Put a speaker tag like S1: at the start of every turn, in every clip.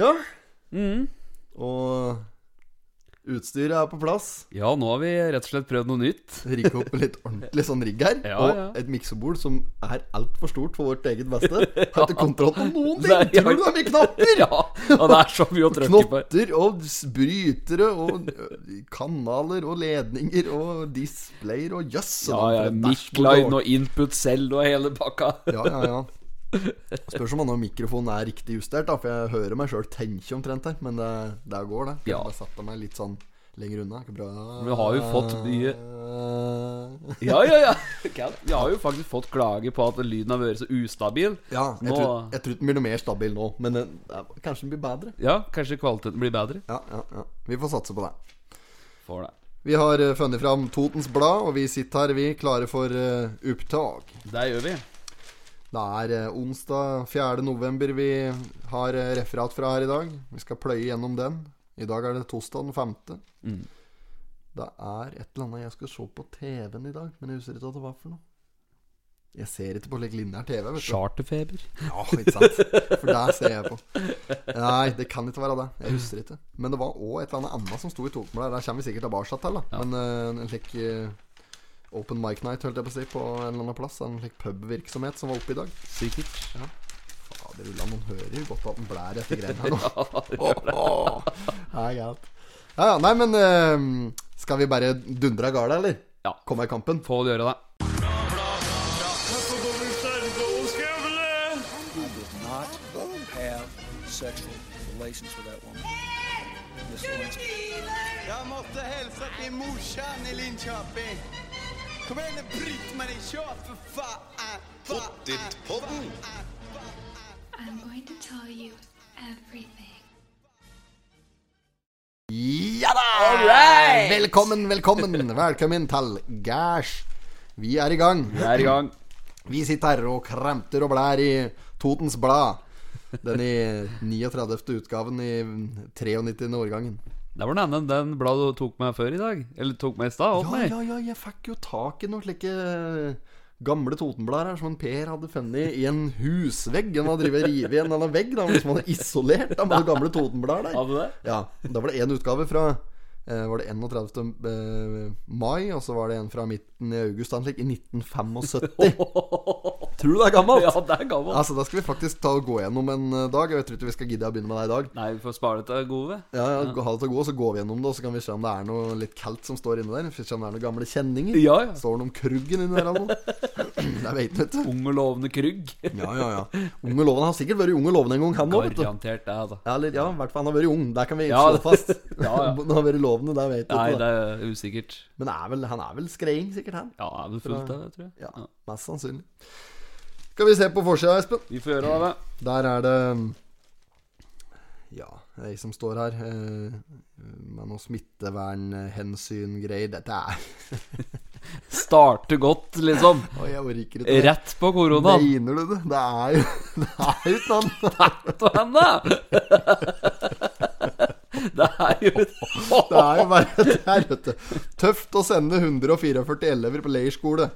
S1: Ja.
S2: Mm.
S1: Og utstyret er på plass.
S2: Ja, nå har vi rett og slett prøvd noe nytt.
S1: Rigge opp litt ordentlig sånn rigg her.
S2: Ja,
S1: og
S2: ja.
S1: et miksebord som er altfor stort for vårt eget beste. Har ikke kontroll på noen ting!
S2: Nei, ja.
S1: Tror du det er mye knapper?
S2: Ja, og det er så mye å trykke på.
S1: Knotter og s- brytere og ø, kanaler og ledninger og displayer og jøss!
S2: Ja,
S1: og
S2: ja,
S1: for et dashboard og-
S2: Mic-line og input selv og hele pakka.
S1: Ja, ja, ja. Spørs om denne mikrofonen er riktig justert, da, for jeg hører meg sjøl tenke omtrent her. Men det, det går, det. Kan
S2: Ja.
S1: Bare sette meg litt sånn lenger unna. Ikke bra.
S2: Men har jo fått Ja, ja, ja. Kat, Vi har jo faktisk fått klage på at lyden har vært så ustabil.
S1: Ja, jeg
S2: Nå-
S1: tror, jeg tror den blir noe mer stabil nå, men den, ja, kanskje den blir bedre.
S2: Ja, kanskje kvaliteten blir bedre.
S1: Ja, ja, ja. Vi får satse på det.
S2: Får det.
S1: Vi har eh, funnet fram Totens Blad, og vi sitter her, vi, klare for eh, opptak.
S2: Det gjør vi.
S1: Det er eh, onsdag 4. november vi har eh, referat fra her i dag. Vi skal pløye gjennom den. I dag er det torsdag den 5.
S2: Mm.
S1: Det er et eller annet jeg skal se på TV-en i dag, men jeg husker ikke hva det var for noe. Jeg ser ikke på slik lineær TV, vet du.
S2: Charterfeber.
S1: Ja, ikke sant. For der ser jeg på. Nei, det kan ikke være det. Jeg husker ikke. Men det var òg et eller annet annet som sto i Totmøla. Der kommer vi sikkert tilbake til, da. Men eh, en slik eh, Open Mic Night, holdt jeg på å si, på en eller annen plass. En slik pubvirksomhet som var oppe i dag.
S2: Sikkert. Ja.
S1: Fader Ulla, man hører jo godt at den blær etter greiene her nå.
S2: det
S1: Åh, åh. Det er galt. Ja, ja, nei, men eh, skal vi bare dundre av gårde, eller?
S2: Ja.
S1: Komme i kampen?
S2: Få gjøre det.
S3: not have sexual relations with that woman. Miss Lewinsky.
S4: Jeg måtte hilse til morsan i Linköping. Kom igjen, Britt-Marie, kjør for faen! Pottitpodden!
S5: I'm going to tell you everything.
S1: Ja da! Velkommen, velkommen. Velkommen til Gæsj. Vi er i gang.
S2: Vi er i gang.
S1: Vi sitter her og kremter og blær i Totens Blad. Den i 39. utgaven i 93. årgangen.
S2: Det var den ene den bladet du tok meg før i dag. Eller tok meg i stad. holdt
S1: Ja,
S2: meg.
S1: ja, ja, jeg fikk jo tak i noen slike eh, gamle Totenblader her som en Per hadde funnet i en husvegg. Han hadde drevet og revet igjen denne vegg da, som han hadde isolert av de gamle Totenblader der.
S2: Hadde det?
S1: Ja, Da var det én utgave fra eh, Var det 31. eh, mai, og så var det en fra midten i august da, slik, i 1975.
S2: Tror du det er gammelt? Ja, det er gammelt.
S1: Altså, Da skal vi faktisk ta og gå gjennom en eh, dag. Jeg tror ikke vi skal gidde å begynne med det i dag.
S2: Nei, vi får spare det til gode.
S1: Ja, ja, ha det til å gå, Så går vi gjennom det, og så kan vi se om det er noe litt kaldt som står inni der. Hvis vi ser om det er noen gamle kjenninger.
S2: Ja, ja.
S1: Står det noe om kruggen inni der eller noe? Jeg vet vet du.
S2: Ung og lovende Krygg.
S1: Ja, ja, ja. Unge Loven har sikkert vært unge Loven en gang, han òg, vet du.
S2: Garantert det, altså.
S1: Ja, Eller ja, i hvert fall han har vært ung. Der kan vi
S2: Ja,
S1: slå
S2: det-
S1: fast.
S2: Ja, ja.
S1: Han har vært lovende, det vet
S2: Nei,
S1: du. da.
S2: det er usikkert.
S1: Men er vel, han er vel skreiing, sikkert, han.
S2: Ja, det er fullt av det, tror jeg.
S1: Ja, Mest sannsynlig. Skal vi se på forsida, Espen.
S2: Vi får gjøre det, da.
S1: Der er det Ja, jeg som står her eh, med noe smittevernhensyn-greier. Dette er
S2: Starte godt, liksom.
S1: Oi, jeg orker ikke.
S2: Rett på koronaen.
S1: Mener du det? Det er jo Det er jo ikke sånn.
S2: Rett på henne! Det er jo
S1: Det er jo bare det her, vet du. Tøft å sende 144 elever på leirskole.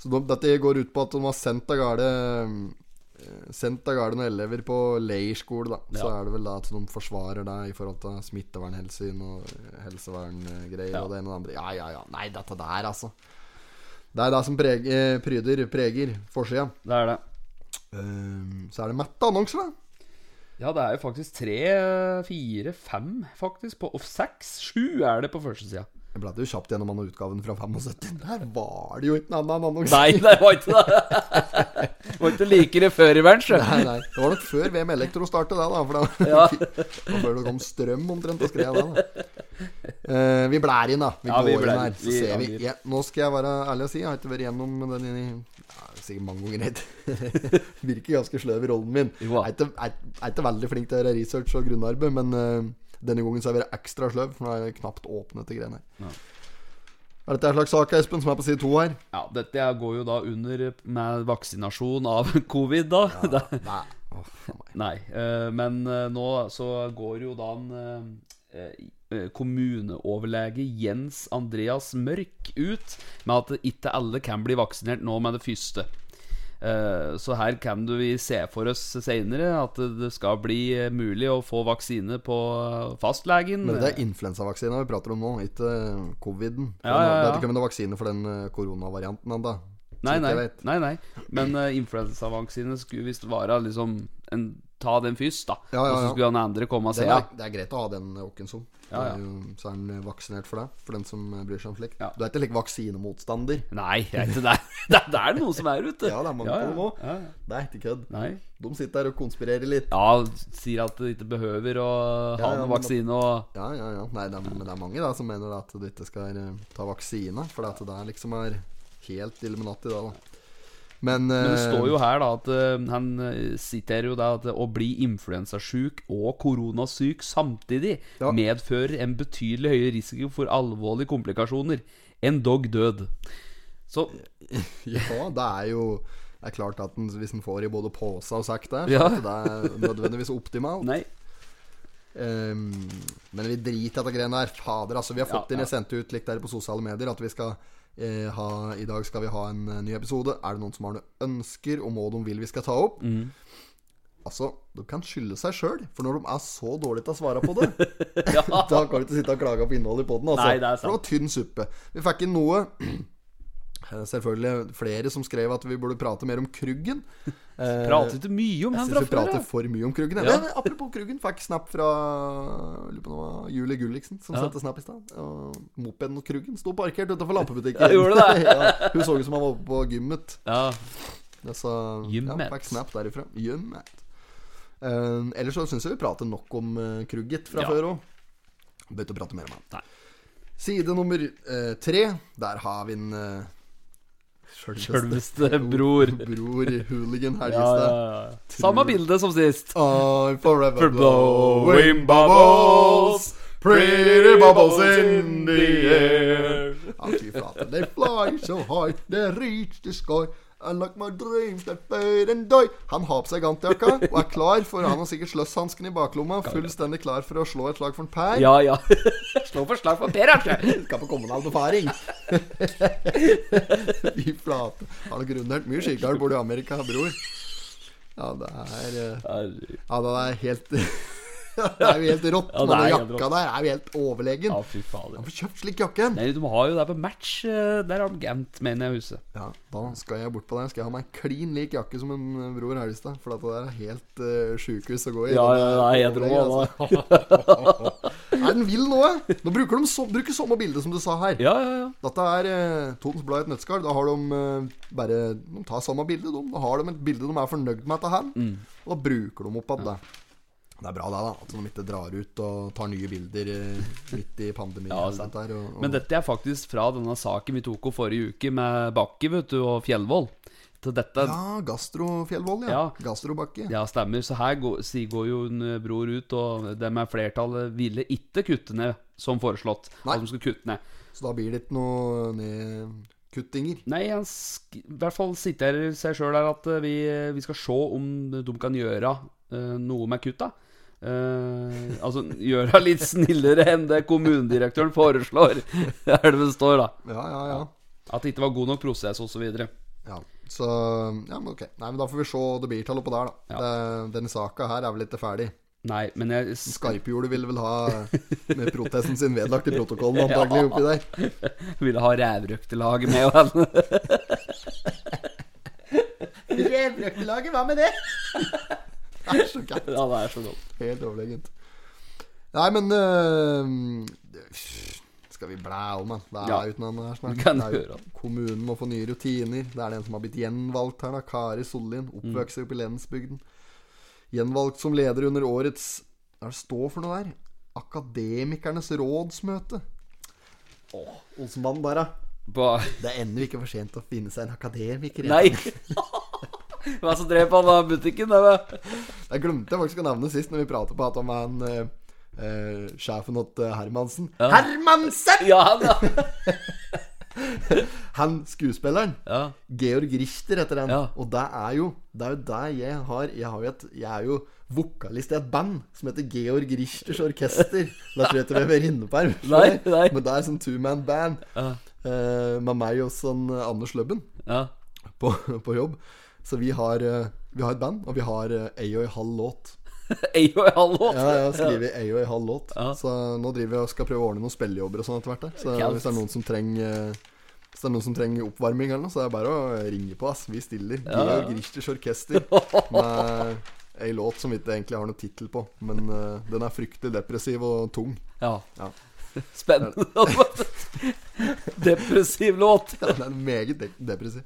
S1: Så de, dette går ut på at de har sendt av gårde eh, Sendt av gårde noen elever på leirskole, da. Så
S2: Ja.
S1: er det vel da at de forsvarer det i forhold til smittevernhensyn og eh, helseverngreier
S2: Ja.
S1: og det ene og det andre. Ja, ja, ja. Nei, dette der, altså. Det er det som preger, eh, pryder, preger forsida.
S2: Det er det.
S1: Eh, så er det mette annonser, da.
S2: Ja, det er jo faktisk tre, fire, fem, faktisk. På, og seks, sju er det på første sida.
S1: Jeg bladde jo kjapt gjennom denne utgaven fra 75. Der var det jo ikke noe annet enn annonser.
S2: Nei, det var ikke det. Det Var ikke like det før i verden, sjø.
S1: Nei, nei. Det var nok før VM Elektro startet, det, da. For da,
S2: Ja.
S1: da før det kom strøm omtrent, og skrev det. da Eh, Vi blær inn, da. Vi
S2: Ja,
S1: går
S2: vi
S1: inn
S2: blær
S1: her,
S2: inn.
S1: så
S2: Vi
S1: ser vi.
S2: angir.
S1: Ja, nå skal jeg være ærlig og si, jeg har ikke vært gjennom den i ja, Sikkert mange ganger. helt. Virker ganske sløv i rollen min.
S2: Jo,
S1: Jeg er ikke- jeg er ikke veldig flink til å gjøre research og grunnarbeid, men eh, denne gangen så har jeg vært ekstra sløv, for nå har jeg knapt åpnet de greiene
S2: Ja.
S1: her. Er dette en slags sak, Espen, som er på side to her?
S2: Ja, dette går jo da under med vaksinasjon av covid, da. Det-
S1: Nei. Åh, faen meg.
S2: Nei, eh, men eh, nå så går jo da en eh, eh, kommuneoverlege Jens Andreas Mørk ut med at ikke alle kan bli vaksinert nå med det første. Eh, Så her kan du vi se for oss seinere at det skal bli eh, mulig å få vaksine på fastlegen.
S1: Men det er influensavaksina vi prater om nå, ikke eh, coviden. For
S2: Ja, ja, ja.
S1: Det er ikke om det er vaksine for den eh, koronavarianten ennå.
S2: Nei,
S1: vidt jeg
S2: nei,
S1: vet.
S2: nei, nei. Men uh, influensavaksine skulle visst være liksom en, Ta den først, da.
S1: Ja, ja,
S2: Og så
S1: ja.
S2: skulle han andre komme og se.
S1: Det
S2: Ja.
S1: er, det er greit å ha den eh, Åkensson.
S2: Ja, ja.
S1: Så er han vaksinert for deg, for den som eh, bryr seg om slikt.
S2: Ja.
S1: Du er ikke like vaksinemotstander.
S2: Nei, jeg er ikke der. Det er der noen som er, vet du.
S1: Ja, det er mange på nå.
S2: ja.
S1: Det er ikke kødd.
S2: Nei.
S1: De sitter der og konspirerer litt.
S2: Ja, sier at du ikke behøver å ha
S1: Ja, ja,
S2: en
S1: men-
S2: vaksine og
S1: Ja, ja, ja. Nei, det er, men det er mange da som mener da, at du ikke skal eh, ta vaksine, for at det der liksom er helt Illuminati da, da. Men,
S2: Men det
S1: eh,
S2: står jo her da at eh, han eh, siterer jo da at å bli influensasjuk og koronasyk samtidig
S1: Ja.
S2: medfører en betydelig høyere risiko for alvorlige komplikasjoner. Endog død. Så
S1: Ja, det er jo det er klart at den, hvis en får i både pose og sekk der,
S2: Ja.
S1: så er ikke det nødvendigvis optimalt.
S2: Nei.
S1: Ehm, men vi driter i dette greiene her. Fader, altså. Vi har fått
S2: Ja,
S1: inn,
S2: ja.
S1: jeg sendte ut litt der på sosiale medier, at vi skal eh, ha I dag skal vi ha en eh, ny episode. Er det noen som har noen ønsker om hva de vil vi skal ta opp?
S2: Mhm.
S1: Altså, de kan skylde seg sjøl, for når de er så dårlige til å svare på det, da kan du ikke sitte og klage på innholdet i poden, altså.
S2: Nei, det er
S1: For
S2: sant.
S1: det var tynn suppe. Vi fikk inn noe eh, Selvfølgelig flere som skrev at vi burde prate mer om Kruggen. Eh,
S2: Prater ikke mye om
S1: jeg
S2: han
S1: syns
S2: fra
S1: vi
S2: før.
S1: prater
S2: ja.
S1: for mye om Kruggen. jeg.
S2: Ja.
S1: Men apropos Kruggen, fikk snap fra jeg lurer på om det var Julie Gulliksen, som
S2: Ja.
S1: sendte snap i stad. Og Mopeden og Kruggen sto parkert utenfor lampebutikken.
S2: Ja, gjorde det?
S1: ja, hun så ut som han var oppe på gymmet.
S2: Ja.
S1: Så ja,
S2: Gymmet.
S1: fikk snap derifra. Gymmet. Eh, ellers så syns jeg vi prater nok om eh, Krugget fra
S2: Ja.
S1: før òg. Begynte å prate mer om han.
S2: Nei.
S1: Side nummer eh, tre. Der har vi en eh,
S2: Sjølveste bror.
S1: Bror Hooligan
S2: Ja,
S1: Helgestad.
S2: ja, ja. Samme bilde som sist.
S1: I'm forever
S2: For blowing
S1: blowing
S2: bubbles,
S1: bubbles,
S2: pretty
S1: pretty
S2: bubbles
S1: bubbles
S2: in
S1: in
S2: the
S1: the
S2: air.
S1: air. Ja, fy flate. They fly so high, they reach the sky. Unlock my dreams, they fade and die. Han har på seg gantjakka og er klar for Han har sikkert sløsshansken i baklomma, fullstendig klar for å slå et slag for en Per.
S2: Ja, ja. Slå for slag for Per, altså.
S1: Skal på kommunal befaring. Fy flate. Han har grunnert mye skikere, bor i Amerika, bror. Ja, det er eh,
S2: Herregud.
S1: Ja, det er helt Det er jo helt rått.
S2: Ja, det
S1: men den
S2: er helt
S1: jakka der er jo helt overlegen.
S2: Ja, fy fader.
S1: Han får kjøpt slik jakke.
S2: Nei, de har jo det på match. eh, Der har de Gant, mener jeg å huske.
S1: Ja, da skal jeg bort på den. Skal jeg ha meg en klin lik jakke som en eh, bror Helgestad. For dette der er helt uh, sjukehus å gå i.
S2: Ja,
S1: Den
S2: ja,
S1: er
S2: ja, jeg tror
S1: overlegen,
S2: det.
S1: altså. Er den vill nå? eh? Nå bruker de så, bruker samme bilde som du sa her.
S2: Ja, ja, ja.
S1: Dette er eh, Totens Blad i et nøttskall. Da har de eh, bare De tar samme bilde, de. Da har de et bilde de er fornøyd med etter her.
S2: Mm.
S1: Og da bruker de opp igjen det. Det er bra det, da. At de ikke drar ut og tar nye bilder eh, midt i pandemien.
S2: Ja,
S1: og
S2: sant.
S1: sånt der, og, og,
S2: Men dette er faktisk fra denne saken vi tok opp forrige uke med Bakke vet du, og Fjellvoll. Så dette
S1: Ja, Gastrofjellvoll, ja.
S2: Ja.
S1: Gastrobakke.
S2: Ja, stemmer. Så her går, sier- går jo en eh, bror ut, og det med flertallet ville ikke kutte ned som foreslått.
S1: Nei.
S2: At de skulle kutte ned.
S1: Så da blir det ikke noe nedkuttinger.
S2: Nei, han sk i hvert fall siterer seg sjøl her at eh, vi, vi skal se om de kan gjøre eh, noe med kutta. Eh, altså gjøre litt snillere enn det kommunedirektøren foreslår, er det det står, da.
S1: Ja, ja, ja.
S2: At det ikke var god nok prosess, osv.
S1: Ja, så Ja, men ok. Nei, men da får vi se hva det blir til oppå der, da. Det, denne saka her er vel ikke ferdig.
S2: Nei, men jeg
S1: Skarphjulet ville vel ha med protesten sin vedlagt i protokollen, antagelig, oppi der.
S2: ville ha rævrøktelaget med. og alt.
S1: Revrøkkelaget, hva med det? Det er så gærent.
S2: Ja, det er så godt.
S1: Helt overlegent. Nei, men øh, Skal vi blæ om, da? Det er
S2: Ja.
S1: uten han her snart.
S2: Vi kan
S1: Det er jo-
S2: gjøre det.
S1: Kommunen må få nye rutiner. Det er den som har blitt gjenvalgt her, da. Kari Sollien. Oppvokst oppe i lensbygden. Gjenvalgt som leder under årets Hva er det står for noe der? Akademikernes rådsmøte. Åh, Olsenmannen der, da.
S2: Ba
S1: Det er ennå ikke for sent å finne seg en akademiker. Jens.
S2: Nei! Hva som drev han av butikken? Det var
S1: Jeg glemte jeg faktisk å nevne sist når vi pratet på at om han eh, eh, sjefen hos eh, Hermansen Hermansen!
S2: Ja, han, ja.
S1: Han skuespilleren.
S2: ja.
S1: Georg Richter heter han.
S2: Ja.
S1: Og det er jo Det er jo det jeg har Jeg, har jo et, jeg er jo vokalist i et band som heter Georg Richters Orkester. Da tror jeg ikke vi er inne på her.
S2: Nei, nei.
S1: Men det er sånn two man band.
S2: Ja.
S1: Eh, med meg og sånn eh, Anders Løbben
S2: ja.
S1: på, på jobb. Så vi har, eh, vi har et band, og vi har eh, ei og ei halv låt.
S2: Ayo, hallo!
S1: Ja, jeg har skrevet ei og ei halv låt.
S2: Ja.
S1: Så nå driver jeg og skal prøve å ordne noen spillejobber og sånn etter hvert. der. Så
S2: Kult.
S1: hvis det er noen som trenger eh, hvis det er noen som trenger oppvarming, eller noe så er det bare å ringe på. ass Vi stiller. Georg Richters orkester med ei låt som vi ikke egentlig har noen tittel på. Men eh, den er fryktelig depressiv og tung.
S2: Ja.
S1: Ja.
S2: Spennende. Depressiv låt.
S1: Ja, den er meget de depressiv.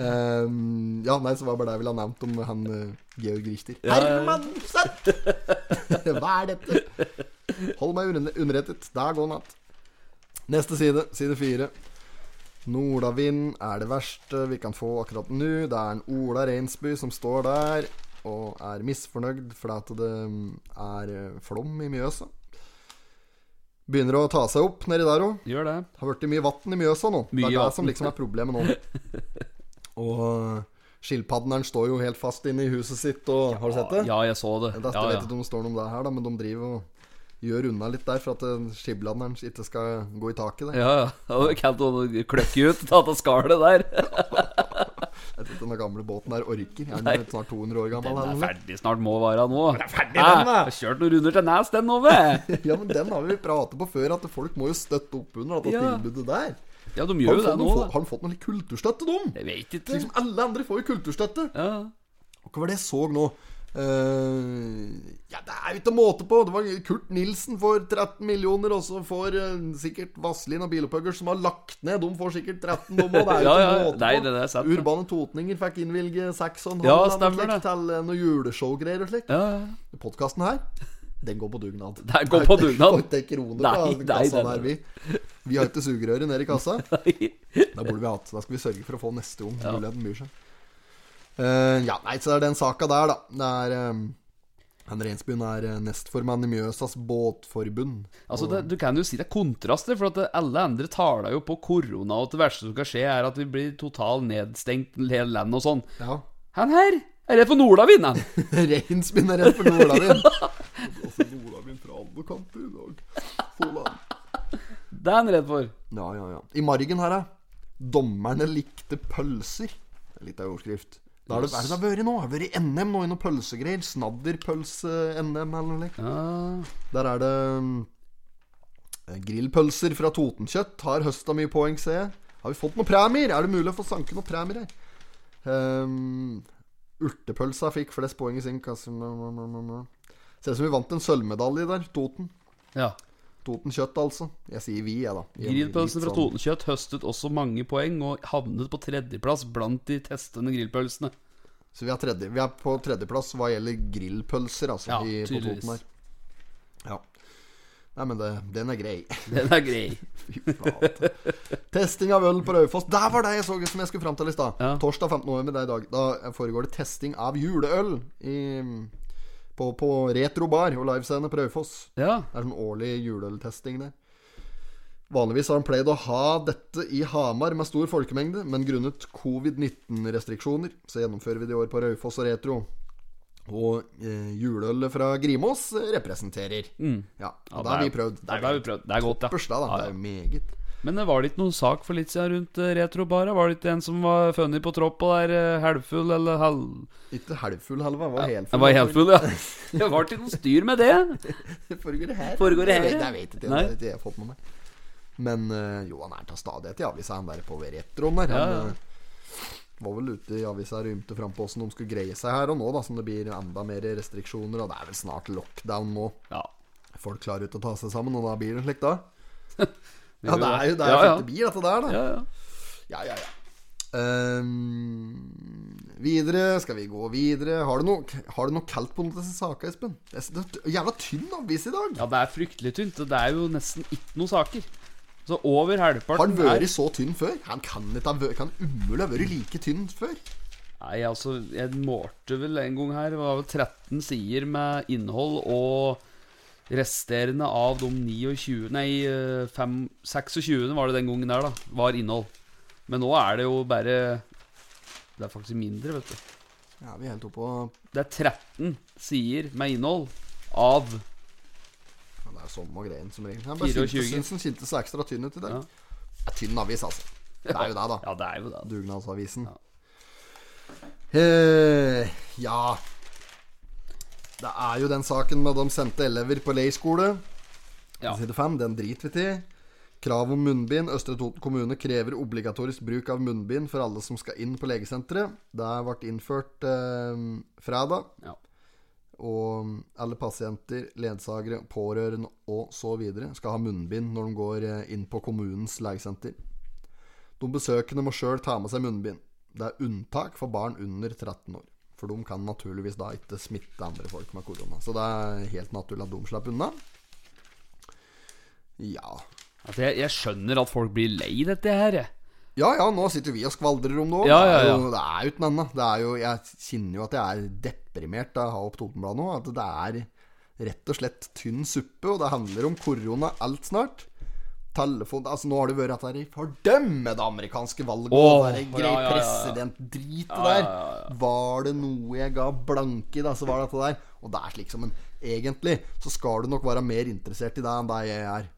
S1: Ehm, ja, nei, så var det bare det jeg ville ha nevnt om han eh, Georg Richter. Herman Sett! Hva er dette? Hold meg unne- underrettet. Dag og natt. Neste side, side fire. Nordavind er det verste vi kan få akkurat nå. Det er en Ola Reinsby som står der og er misfornøyd fordi at det mm, er eh, flom i Mjøsa. Begynner å ta seg opp nedi der òg.
S2: Gjør det.
S1: Det har blitt mye vann i Mjøsa nå. det
S2: Mye
S1: er
S2: vatten.
S1: det som liksom er problemet nå. Og skilpadden her står jo helt fast inne i huset sitt, og har du sett det?
S2: Ja, jeg så det.
S1: Dette
S2: Ja,
S1: vet
S2: ja.
S1: ikke om det står noe om det her, da, men de driver og gjør unna litt der for at eh, skibladeren ikke skal gå i taket. Der.
S2: Ja, ja. Og Kan du kløkke ut ta av skallet der?
S1: Jeg tror ikke den gamle båten der orker. Jeg er
S2: Nei.
S1: den snart 200 år gammel.
S2: Den er
S1: eller noe.
S2: ferdig snart, må være nå. Den er ferdig,
S6: den, da.
S2: Kjørt noen runder til Nes, den nå, vet
S1: Ja, men den har vi pratet på før, at folk må jo støtte opp under dette
S2: Ja.
S1: tilbudet der.
S2: Ja, de
S1: Har de
S2: gjør jo det
S1: fått,
S2: nå.
S1: noe,
S2: da.
S1: har de fått noe litt kulturstøtte, de?
S2: Jeg vet ikke. liksom.
S1: Slik som alle andre får jo kulturstøtte.
S2: Ja.
S1: Og Hva var det jeg så nå? Eh, ja, det er jo ikke måte på! Det var Kurt Nilsen får 13 millioner, og så får eh, sikkert Vazelin og Bilopphøggers, som har lagt ned, de får sikkert 13, de òg. Det er jo
S2: Ja,
S1: ikke
S2: ja,
S1: måte
S2: nei,
S1: på.
S2: det er sant, det.
S1: Urbane Totninger fikk innvilge 6,5
S2: Ja, stemmer det.
S1: til eh, noe juleshowgreier og slikt.
S2: Ja, ja.
S1: Podkasten her, den går på dugnad.
S2: Den går på dugnad.
S1: Får ikke kroner fra
S2: Nei, nei,
S1: kassa
S2: nei,
S1: der, vi. Vi har ikke sugerøret nede i kassa.
S2: Nei.
S1: Da burde vi hatt Da skal vi sørge for å få neste gang. Muligheten byr seg. Eh, ja, nei, så det er den saka der, da. Det er eh, Han Reinsbyen er eh, nestformann i Mjøsas båtforbund.
S2: Altså,
S1: Og-
S2: det, Du kan jo si det er kontraster, for at det- alle andre taler jo på korona, og at det verste som kan skje, er at vi blir totalt nedstengt, hele landet og sånn.
S1: Ja.
S2: Han her er redd for Nordavind, han.
S1: Reinsbyen er rett for Nordavind. altså, Nordavind fra alle kanter i dag. Solan.
S2: Det er han redd for.
S1: Ja, ja, ja. I margen her, da. Dommerne likte pølser. Det er litt av en overskrift. Da er det, er det det har vært nå? Har det vært NM nå i noen pølsegreier? Snadderpølse-NM eller noe slikt?
S2: Ja,
S1: Der er det mm, eh, grillpølser fra Totenkjøtt. Har høsta mye poeng, ser jeg. Har vi fått noen premier? Er det mulig å få sanke noen premier her? Ehm, urtepølsa fikk flest poeng i sin kasse. Ser ut som vi vant en sølvmedalje der. Toten.
S2: ja.
S1: Toten kjøtt, altså. Jeg sier vi, jeg, da. I en
S2: Grillpølsen
S1: litt
S2: fra
S1: sånn-
S2: Totenkjøtt høstet også mange poeng, og havnet på tredjeplass blant de testende grillpølsene.
S1: Så vi er, tredje, vi er på tredjeplass hva gjelder grillpølser, altså.
S2: Ja,
S1: i, på
S2: tydeligvis.
S1: Toten her. Ja. Nei, men det, den er grei.
S2: Den er grei.
S1: Fy flate. testing av øl på Raufoss. Der var det jeg så som jeg skulle fram til i stad.
S2: Ja.
S1: Torsdag 15. november, det er i dag. Da foregår det testing av juleøl i, på, på Retro Bar og livescene på Raufoss.
S2: Ja.
S1: Det er sånn årlig juleøltesting der. Vanligvis har han pleid å ha dette i Hamar med stor folkemengde, men grunnet covid-19-restriksjoner så gjennomfører vi det i år på Raufoss og Retro. Og eh, juleølet fra Grimås representerer. Ja, og
S2: Mm. Ja,
S1: da har
S2: det
S1: vi
S2: er-
S1: prøvd.
S2: Ja, det har vi prøvd. Det er godt, ja.
S1: Topperstad, da.
S2: Ja,
S1: Det
S2: ja.
S1: er jo meget.
S2: Men eh, var det ikke noen sak for litt siden rundt eh, retrobara? Var det ikke en som var funnet på troppa der, eh, halvfull eller halv...
S1: Ikke halvfull, halva. Var helfull.
S2: Jeg var helt full, ja. Det var ikke noe styr med det.
S1: Foregår det her?
S2: Foregår det her,
S1: Jeg vet,
S2: ja.
S1: jeg vet ikke.
S2: Nei.
S1: Det har ikke jeg fått med meg. Men eh, jo, han er til stadighet i avisa, han der på retroen der. Han
S2: Ja, ja.
S1: eh, var vel ute i avisa og rymte fram på åssen de skulle greie seg her og nå, da, som det blir enda mer restriksjoner. Og det er vel snart lockdown nå.
S2: Ja.
S1: Folk klarer ikke å ta seg sammen, og da blir det slik, da. Ja,
S2: gjør
S1: det er jo
S2: det.
S1: det er
S2: Ja, ja.
S1: fette blir, dette der, da.
S2: Ja, ja.
S1: Ja, ja, ja. Ehm, videre, skal vi gå videre Har du noe, har du noe kaldt på noen av disse sakene, Espen? Det er så- det er jævla tynn avis i dag!
S2: Ja, det er fryktelig tynt. og Det er jo nesten ikke noen saker. Så over
S1: Har den
S2: halvparten
S1: vært så tynn før? Han kan, ikke, ha væ- kan umulig ha vært like tynn før.
S2: er Nei, altså, jeg målte vel en gang her. Det var vel 13 sider med innhold og resterende av de 29 Nei, eh, fem- 26 var det den gangen der, da. Var innhold. Men nå er det jo bare Det er faktisk mindre, vet du.
S1: Ja, vi er helt oppe på
S2: Det er 13 sider med innhold av
S1: ja, Det er samme greien som regel. Jeg bare
S2: 24.
S1: syntes- syntes den kjente seg ekstra tynn ut i dag.
S2: Ja.
S1: Det er tynn avis, altså. Det er jo det, da.
S2: Ja, det er jo det.
S1: Dugnadsavisen.
S2: Ja.
S1: Eh, ja Det er jo den saken med de sendte elever på leirskole.
S2: Ja.
S1: Side fem, den driter vi til. Krav om munnbind. Østre Toten kommune krever obligatorisk bruk av munnbind for alle som skal inn på legesenteret. Det ble innført eh, fredag.
S2: Ja.
S1: Og alle pasienter, ledsagere, pårørende og så videre skal ha munnbind når de går eh, inn på kommunens legesenter. De besøkende må sjøl ta med seg munnbind. Det er unntak for barn under 13 år. For de kan naturligvis da ikke smitte andre folk med korona. Så det er helt naturlig at de slipper unna. Ja
S2: Altså, jeg, jeg skjønner at folk blir lei dette her, jeg.
S1: Ja ja, nå sitter vi og skvaldrer om det òg.
S2: Ja, ja,
S1: Det er
S2: ja.
S1: jo- det er jo uten annet. Det er jo, jeg kjenner jo at jeg er deprimert av å ha opp Totenbladet nå. At det er rett og slett tynn suppe, og det handler om korona alt snart. Telefon Altså, nå har det vært dette her i fordømmede amerikanske valget og
S2: Åh,
S1: det der
S2: ja, ja, ja,
S1: grei
S2: ja.
S1: presidentdritet der. Var det noe jeg ga blanke i, da, så var det dette der. Og det er slik som en Egentlig så skal du nok være mer interessert i det enn det jeg er.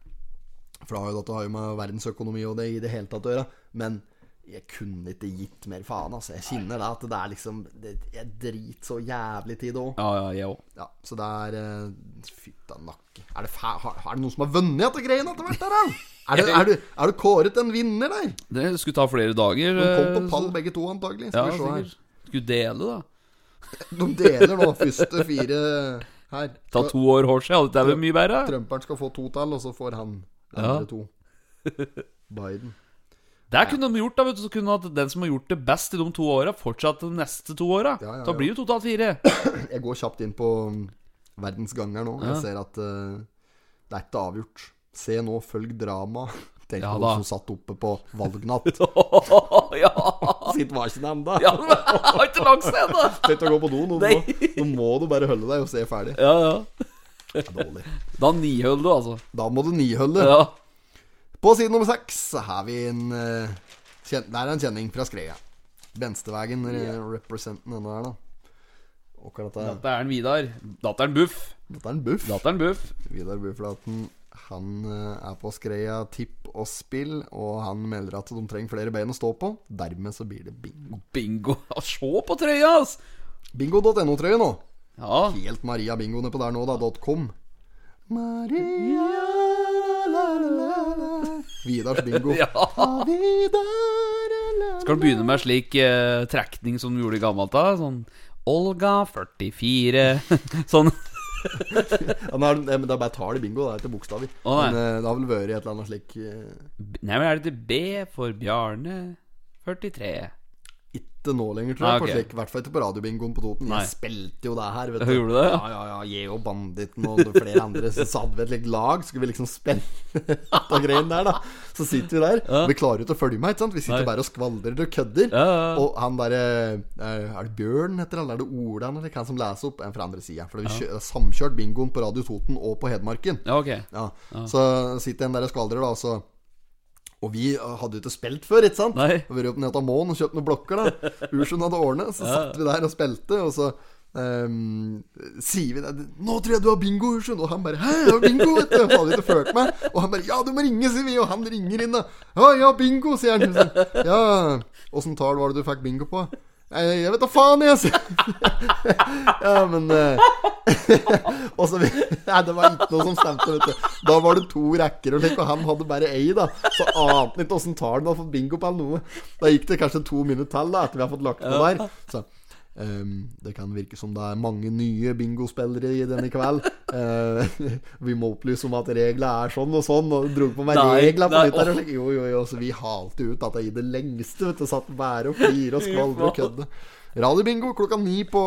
S1: For det har jo dette har jo med verdensøkonomi og det i det hele tatt å gjøre. Men jeg kunne ikke gitt mer faen, altså. Jeg kjenner det at det er liksom det, Jeg driter så jævlig tid òg.
S2: Ja, ja, jeg òg.
S1: Ja, så det er eh, Fytta nakke. Er det, fæ har, er det noen som har vunnet dette greiene etter hvert, der, da? Er det, er, du, er du kåret en vinner der?
S2: Det skulle ta flere dager.
S1: De kom på
S2: eh,
S1: pall
S2: så-
S1: begge to, antagelig. Skal
S2: Ja,
S1: vi se her.
S2: sikkert. Skulle dele, da.
S1: De deler nå første fire her.
S2: Ta to år hår seg, hadde det vært mye bedre?
S1: Trumperen skal få to tall, og så får han
S2: Ja.
S1: andre to. Biden.
S2: Der kunne de gjort da, vet du, så kunne at den som har gjort det best i de to åra, fortsatt de neste to åra.
S1: Ja, ja, ja.
S2: Da blir det jo totalt fire.
S1: Jeg går kjapt inn på mm, verdensganger nå. Jeg ser at eh, det er ikke avgjort. Se nå, følg drama. Tenk
S2: Ja
S1: på
S2: da.
S1: noen som satt oppe på valgnatt.
S2: ja,
S1: Sitt var ikke ennå.
S2: ja, men jeg har ikke lagt seg ennå.
S1: Tenk å gå på do. Nå,
S2: Nei.
S1: må, nå må du bare holde deg og se ferdig.
S2: Ja, ja.
S1: Det er dårlig.
S2: Da nihøl du, altså.
S1: Da må du nihølle.
S2: Ja.
S1: På side nummer seks så har vi en eh, kjen, Der er en kjenning fra Skreia. Benstevegen yeah. representen denne her, da. Og hva er dette?
S2: Dette er en Vidar. Datteren Buff.
S1: Dette er en buff.
S2: Datteren Buff.
S1: Vidar Buflaten han eh, er på skreia tipp og spill, og han melder at de trenger flere bein å stå på. Dermed så blir det bingo.
S2: Bingo. Ja, Se på trøya, ass!
S1: Bingo.no-trøye nå.
S2: Ja.
S1: Helt Maria Bingo nede på der nå, da. .com. Maria la, la, la, la. Vidars bingo.
S2: ja.
S1: Vidar la, la.
S2: Skal du begynne med slik eh, trekning som du gjorde i gammelt da? Sånn Olga 44 Sånn.
S1: Ja, men er det- eh, men det er bare tall i bingo, det er ikke bokstaver.
S2: Å, nei.
S1: men eh, det har vel vært et eller annet slik eh,
S2: Nei, men er det til B for Bjarne 43?
S1: Ikke nå lenger, tror jeg.
S2: Nei, Ah, ok.
S1: på slik, I hvert fall ikke på radiobingoen på Toten.
S2: Nei.
S1: Jeg spilte jo det her. vet du
S2: Gjorde du det?
S1: Ja, ja, ja. Jeg og Banditten og flere andre så satt vi et like, lag. Skulle vi liksom spenne på greien der, da. Så sitter vi der. Vi klarer jo ikke å følge med. ikke sant? Vi sitter
S2: Nei.
S1: bare og skvaldrer og kødder.
S2: Ja, ja.
S1: Og han derre Er det Bjørn heter han, eller er det Ola eller han som leser opp? En fra andre sida. For vi kjø- samkjørt bingoen på Radio Toten og på Hedmarken.
S2: Ja, ok.
S1: Ja. Så sitter en der og skvaldrer, da, og så Og vi eh, hadde jo ikke spilt før, ikke sant?
S2: Nei.
S1: Vi var opp ned til Mån og kjøpte noen blokker, da. Ursun hadde ordnet, så satt vi der og spilte, og så ehm, sier vi det 'Nå tror jeg du har bingo, Ursun.' Og han bare 'Hæ, jeg har bingo?' Vet du. Han hadde ikke ført meg. Og han bare 'Ja, du må ringe', sier vi. Og han ringer inn, da. 'Ja, ja, bingo', sier han. Så, ja, åssen tall var det du fikk bingo på? «Nei, Jeg vet da faen, jeg, sier Ja, men eh, og så, nei, det var ikke noe som stemte, vet du. Da var det to rekker, og, slik, og han hadde bare ei, da. Så ante han ikke åssen tall han hadde fått bingo på, eller noe. Da gikk det kanskje to minutter til, da, etter vi har fått lagt noe der. Så ehm, det kan virke som det er mange nye bingospillere i denne kveld. Eh, vi må opplyse om at reglene er sånn og sånn, og dro på meg
S2: Nei,
S1: reglene på
S2: nei,
S1: nytt. der, og
S2: åh.
S1: slik. Jo, jo, jo, så vi halte ut dette i det lengste, vet du. Satt bare og flirte og skvalvde og kødde. Radiobingo klokka ni på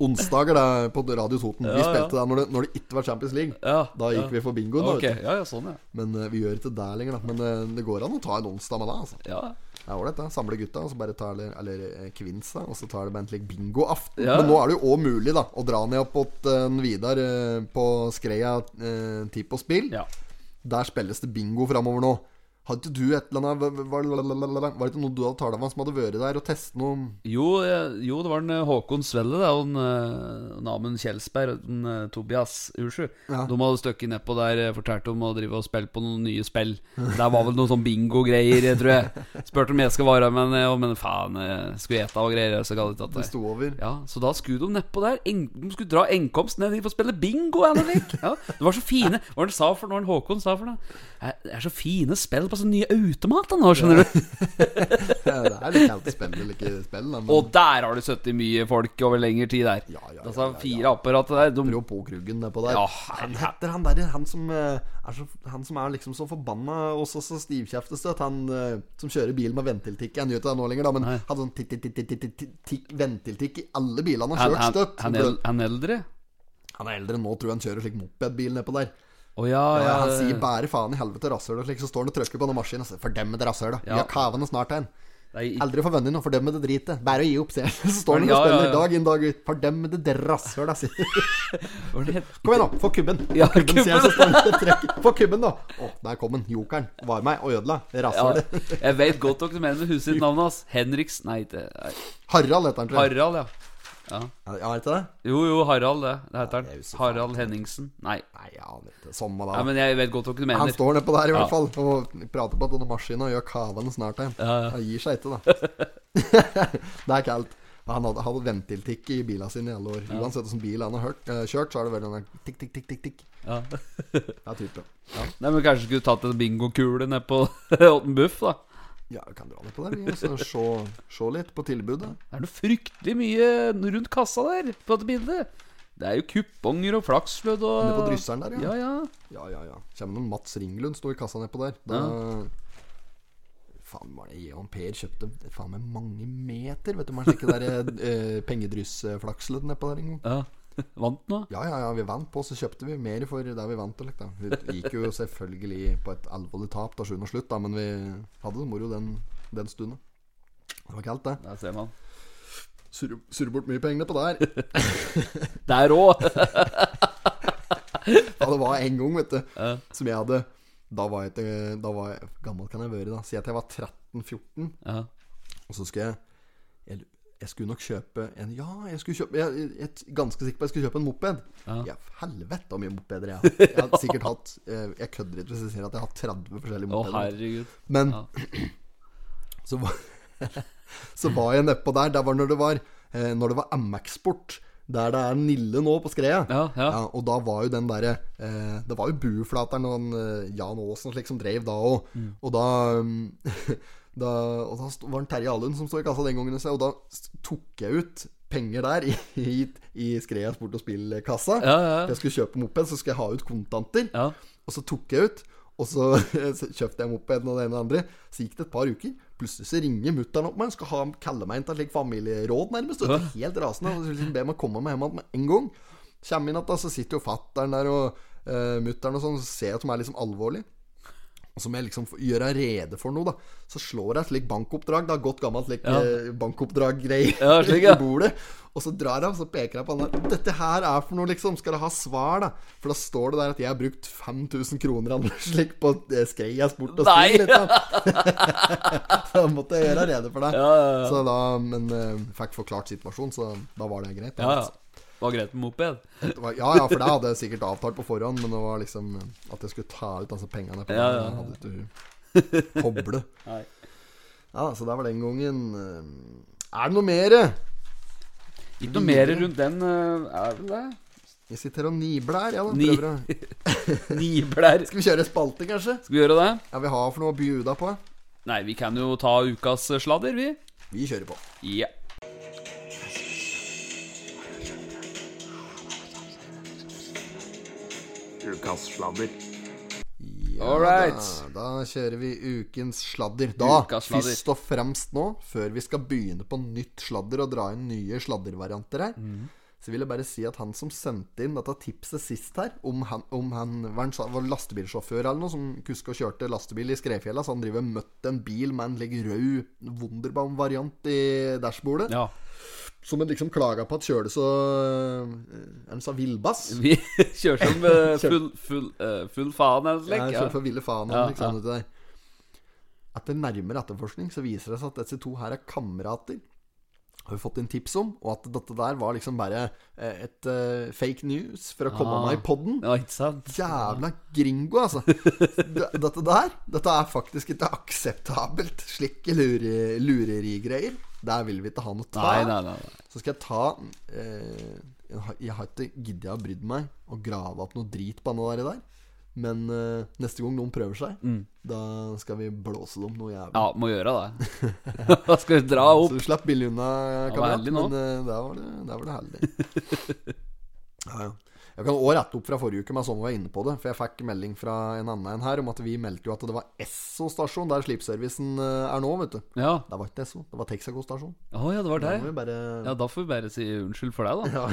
S1: Onsdager da, på Radio Toten. vi
S2: ja.
S1: spilte der når det, når det ikke var Champions League.
S2: Ja,
S1: da gikk
S2: ja.
S1: vi for bingoen. da,
S2: Ok,
S1: vet du.
S2: ja, ja, sånn, ja.
S1: Men eh, vi gjør ikke det lenger, da. Men eh, det går an å ta en onsdag med det. Altså.
S2: ja.
S1: Det er ålreit, det. Samle gutta, og så bare tar det, eller eh, kvinns, da. Og så tar det bare en slik bingoaften.
S2: Ja.
S1: Men nå er det jo òg mulig, da, å dra ned opp mot eh, Vidar eh, på Skreia eh, Tipp og Spill.
S2: Ja.
S1: Der spilles det bingo framover nå. Hadde ikke du et eller annet Var var det ikke noe du hadde talt om han som hadde vært der og testet noe?
S2: Jo, eh, jo, det var en eh, Håkon Svelle da, og en, eh, en Amund Kjelsberg og en eh, Tobias Ursju.
S1: Ja.
S2: De hadde støkket nedpå der, eh, fortalt om å drive og spille på noen nye spill. Der var vel noen sånn bingo-greier, jeg tror jeg. Spurte om jeg skal være med, men, eh, og, men faen, eh, skulle jeg ete og greier. Så gadd jeg ikke
S1: Det
S2: at det.
S1: sto over.
S2: Ja, så da skulle de nedpå der. En, de skulle dra enkomst ned dit for å spille bingo. eller noe. Ja, det var så fine Hva var det han sa for noe? Håkon sa for noe? Det er så fine spill på sånne nye automater nå, skjønner du.
S1: Det er litt kaldt spill eller ikke spill, da, men
S2: Og der har du sittet mye folk over lengre tid der.
S1: Ja, ja, ja, ja,
S2: altså,
S1: ja.
S2: fire apparat der.
S1: Prøv
S2: De,
S1: å på kruggen nedpå der.
S2: Ja,
S1: han heter han derre han, som, eh, er så- han som er liksom så forbanna og så, så stivkjeftestøt. Han eh, som kjører bil med ventiltikk. Han gjør ikke det nå lenger, da, men hadde sånn tikk, tikk, tikk, tikk, tikk, tikk, tikk, ventiltikk i alle bilene han
S2: han,
S1: har kjørt
S2: han,
S1: støtt.
S2: han, el- han eldre?
S1: Han er eldre nå, tror jeg han kjører slik mopedbil nedpå der.
S2: Å ja,
S1: Ja,
S2: ja.
S1: han sier bare faen i helvete rasshøl, og slik, så står han og trykker på den maskinen og sier 'fordømme det rasshølet'.
S2: Ja.
S1: Vi har kavene snart igjen.
S2: Nei, ikke-
S1: Aldri få vunnet noe, fordømme det dritet. Bare å gi opp, sier han. Så står han og
S2: Ja, ja,
S1: spiller
S2: ja.
S1: dag inn dag ut. Fordømme det rasshølet, sier han.
S2: hva er det het?
S1: Kom igjen, nå. Få kubben.
S2: Ja,
S1: kubben, sier jeg, så står
S2: kubben.
S1: han og trekker. Få kubben, da. Å, der kom den. Jokeren. Var meg og ødela. Det
S2: Ja,
S1: Rasshølet.
S2: jeg vet godt dere mener huset sitt navn hans. Henriks Nei, det er
S1: Harald heter han, tror jeg.
S2: Harald, ja. ja.
S1: Ja, er det ikke det?
S2: Jo, jo, Harald, det, det heter
S1: jeg
S2: han.
S1: husker faen.
S2: Harald Henningsen. Nei.
S1: Nei, jeg aner ikke. Samme da.
S2: Nei, men jeg vet godt dere
S1: han
S2: mener.
S1: står nedpå der i hvert
S2: Ja.
S1: fall og prater på denne maskinen og gjør kavene snart igjen. Han gir seg ikke, da. det er kaldt. Han hadde, hadde ventiltikk i bila sine i alle år. Uansett hvordan bil han har hørt, eh, kjørt, så er det vel den der tikk, tikk, tikk, tikk. tikk.
S2: Ja.
S1: Ja, type.
S2: Nei, men Kanskje skulle tatt en bingokule ned på Åtten Buff, da.
S1: Ja, vi kan dra ned på der, vi, og så se, se litt på tilbudet.
S2: Det er noe fryktelig mye rundt kassa der på dette bildet. Det er jo kuponger og flakslodd og
S1: Nede på drysseren der, ja.
S2: Ja, ja.
S1: Ja, ja, ja. Kjem noen Mats Ringlund sto i kassa nedpå der. Da Faen, var det jeg og Per kjøpte faen meg mange meter, vet du. Man sjekker der eh, pengedryssflakslødd nedpå der en gang.
S2: ja. Vant nå?
S1: Ja, ja, ja, vi vant på, så kjøpte vi mer for der vi vant. og litt, Da. Vi gikk jo selvfølgelig på et alvorlig tap da sjuende og slutt, da, men vi hadde det moro den, den stunden. Det var kaldt, det.
S2: Der ser man.
S1: Surre surre bort mye penger på der.
S2: Der òg!
S1: Ja, det var en gang, vet du,
S2: Ja.
S1: som jeg hadde Da var jeg, til- da var jeg gammel kan jeg være, da. Si at jeg var 13-14,
S2: Ja.
S1: og så skulle jeg, jeg jeg skulle nok kjøpe en Ja, jeg skulle kjøpe Jeg jeg- jeg er ganske sikker på jeg skulle kjøpe en moped.
S2: Ja.
S1: Ja, helvete hvor mye mopeder jeg har. Jeg har sikkert hatt eh, Jeg kødder ikke hvis jeg sier at jeg har 30 forskjellige
S2: Å,
S1: mopeder.
S2: herregud.
S1: Men
S2: Ja.
S1: så, var, så var jeg nedpå der. Der var når det var eh, Når det var MX-sport. Der det er Nille nå, på skreia.
S2: Ja, ja.
S1: og da var jo den derre eh, Det var jo Buflateren og en, eh, Jan Aasen og slik som drev da òg.
S2: Mm.
S1: Og da um, Da, og da sto- var det Terje Alund som sto i kassa den gangen, og da s- tok jeg ut penger der i, i, i Skreia sport og spill-kassa.
S2: Ja, ja.
S1: For jeg skulle kjøpe moped, så skulle jeg ha ut kontanter.
S2: Ja.
S1: Og så tok jeg ut, og så, så kjøpte jeg mopeden og det ene og det andre. Så gikk det et par uker. Plutselig så ringer mutter'n opp meg og skal ha, kalle meg inn til et slikt familieråd, nærmest. Og det er helt rasende. Og så liksom ber meg komme meg hjem igjen med en gang. Kjem inn igjen, da, så sitter jo fatter'n der og uh, mutter'n og sånn, så ser jeg at de er liksom alvorlige. Og så må jeg liksom få- gjøre rede for noe, da. Så slår jeg et slikt bankoppdrag. Da, godt gammelt slik
S2: Ja.
S1: eh, bankoppdrag-greie
S2: Ja, slik, ja.
S1: i bordet. Og så drar han, så peker han på han der. Dette her er for noe, liksom. Skal du ha svar, da? For da står det der at jeg har brukt 5000 kroner eller slik på eh, Skreia sport og
S2: Nei.
S1: spill. Liksom. så måtte jeg gjøre rede for det.
S2: Ja, ja, ja.
S1: Så da, men eh, fikk forklart situasjonen, så da var det greit. da.
S2: ja, ja. Det var greit med moped.
S1: Det var- ja, ja, for det hadde jeg sikkert avtalt på forhånd, men det var liksom eh, at jeg skulle ta ut altså, pengene. På
S2: Ja,
S1: den,
S2: ja, ja.
S1: Hadde ikke koble.
S2: Nei.
S1: Ja, så der var den gangen. eh, Er det noe mere?
S2: Ikke noe mer rundt den, eh, er vel det?
S1: Jeg sitter og nibler her, ja da.
S2: Ni-
S1: Prøver å
S2: Nibler.
S1: Skal vi kjøre spalte, kanskje?
S2: Skal vi gjøre det?
S1: Ja, vi har for noe å bjuda på.
S2: Nei, vi kan jo ta ukas sladder, vi.
S1: Vi kjører på.
S2: Ja.
S1: Ja,
S2: Alright.
S1: Da, da kjører vi ukens sladder. Da,
S2: Ukas sladder.
S1: først og fremst nå, før vi skal begynne på nytt sladder og dra inn nye sladdervarianter her,
S2: Mhm.
S1: så vil jeg bare si at han som sendte inn dette tipset sist her, om han, om han var, en, sa- var lastebilsjåfør eller noe, som kuska og kjørte lastebil i Skrefjella, så han driver og møtte en bil med en like rød Wunderbaum-variant i dashbordet,
S2: ja.
S1: som han liksom klaga på at kjørte så øh, En sa villbass.
S2: Vi kjører som eh, full, full, eh, full faen
S1: Ja,
S2: eller noe slikt.
S1: jeg skjønner for ville faen
S2: Ja,
S1: han, ikke sant, vet du det. Etter nærmere etterforskning så viser det seg at disse to her er kamerater. Har vi fått inn tips om, og at dette der var liksom bare eh, et eh, fake news for å komme
S2: Ah.
S1: meg i podden.
S2: Ja, ikke sant?
S1: Jævla gringo, altså. D- Dette der Dette er faktisk ikke akseptabelt. Slike lure, lurerigreier. Der vil vi ikke ha noe
S2: Nei,
S1: av.
S2: nei, nei. nei.
S1: Så skal jeg ta eh, Jeg har- jeg har ikke giddet å brydd meg og grave opp noe drit på noe der, i der. men eh, neste gang noen prøver seg, da skal vi blåse dem noe jævlig.
S2: Mm. Ja, må gjøre det. Da skal vi dra
S1: Så
S2: opp.
S1: du slapp billig unna,
S2: Det var
S1: kamerat.
S2: herlig nå.
S1: Men eh, der var det, der var det herlig. ja, ja. Jeg kan også rette opp fra forrige uke, men sånn var jeg inne på det. For jeg fikk melding fra en annen en her om at vi meldte jo at det var Esso stasjon der slipservicen eh, er nå, vet du.
S2: Ja.
S1: Det var ikke Esso, det var Texaco stasjon.
S2: Å ja, det var
S1: Da
S2: deg.
S1: må vi bare
S2: Ja, da får vi bare si unnskyld for deg, da.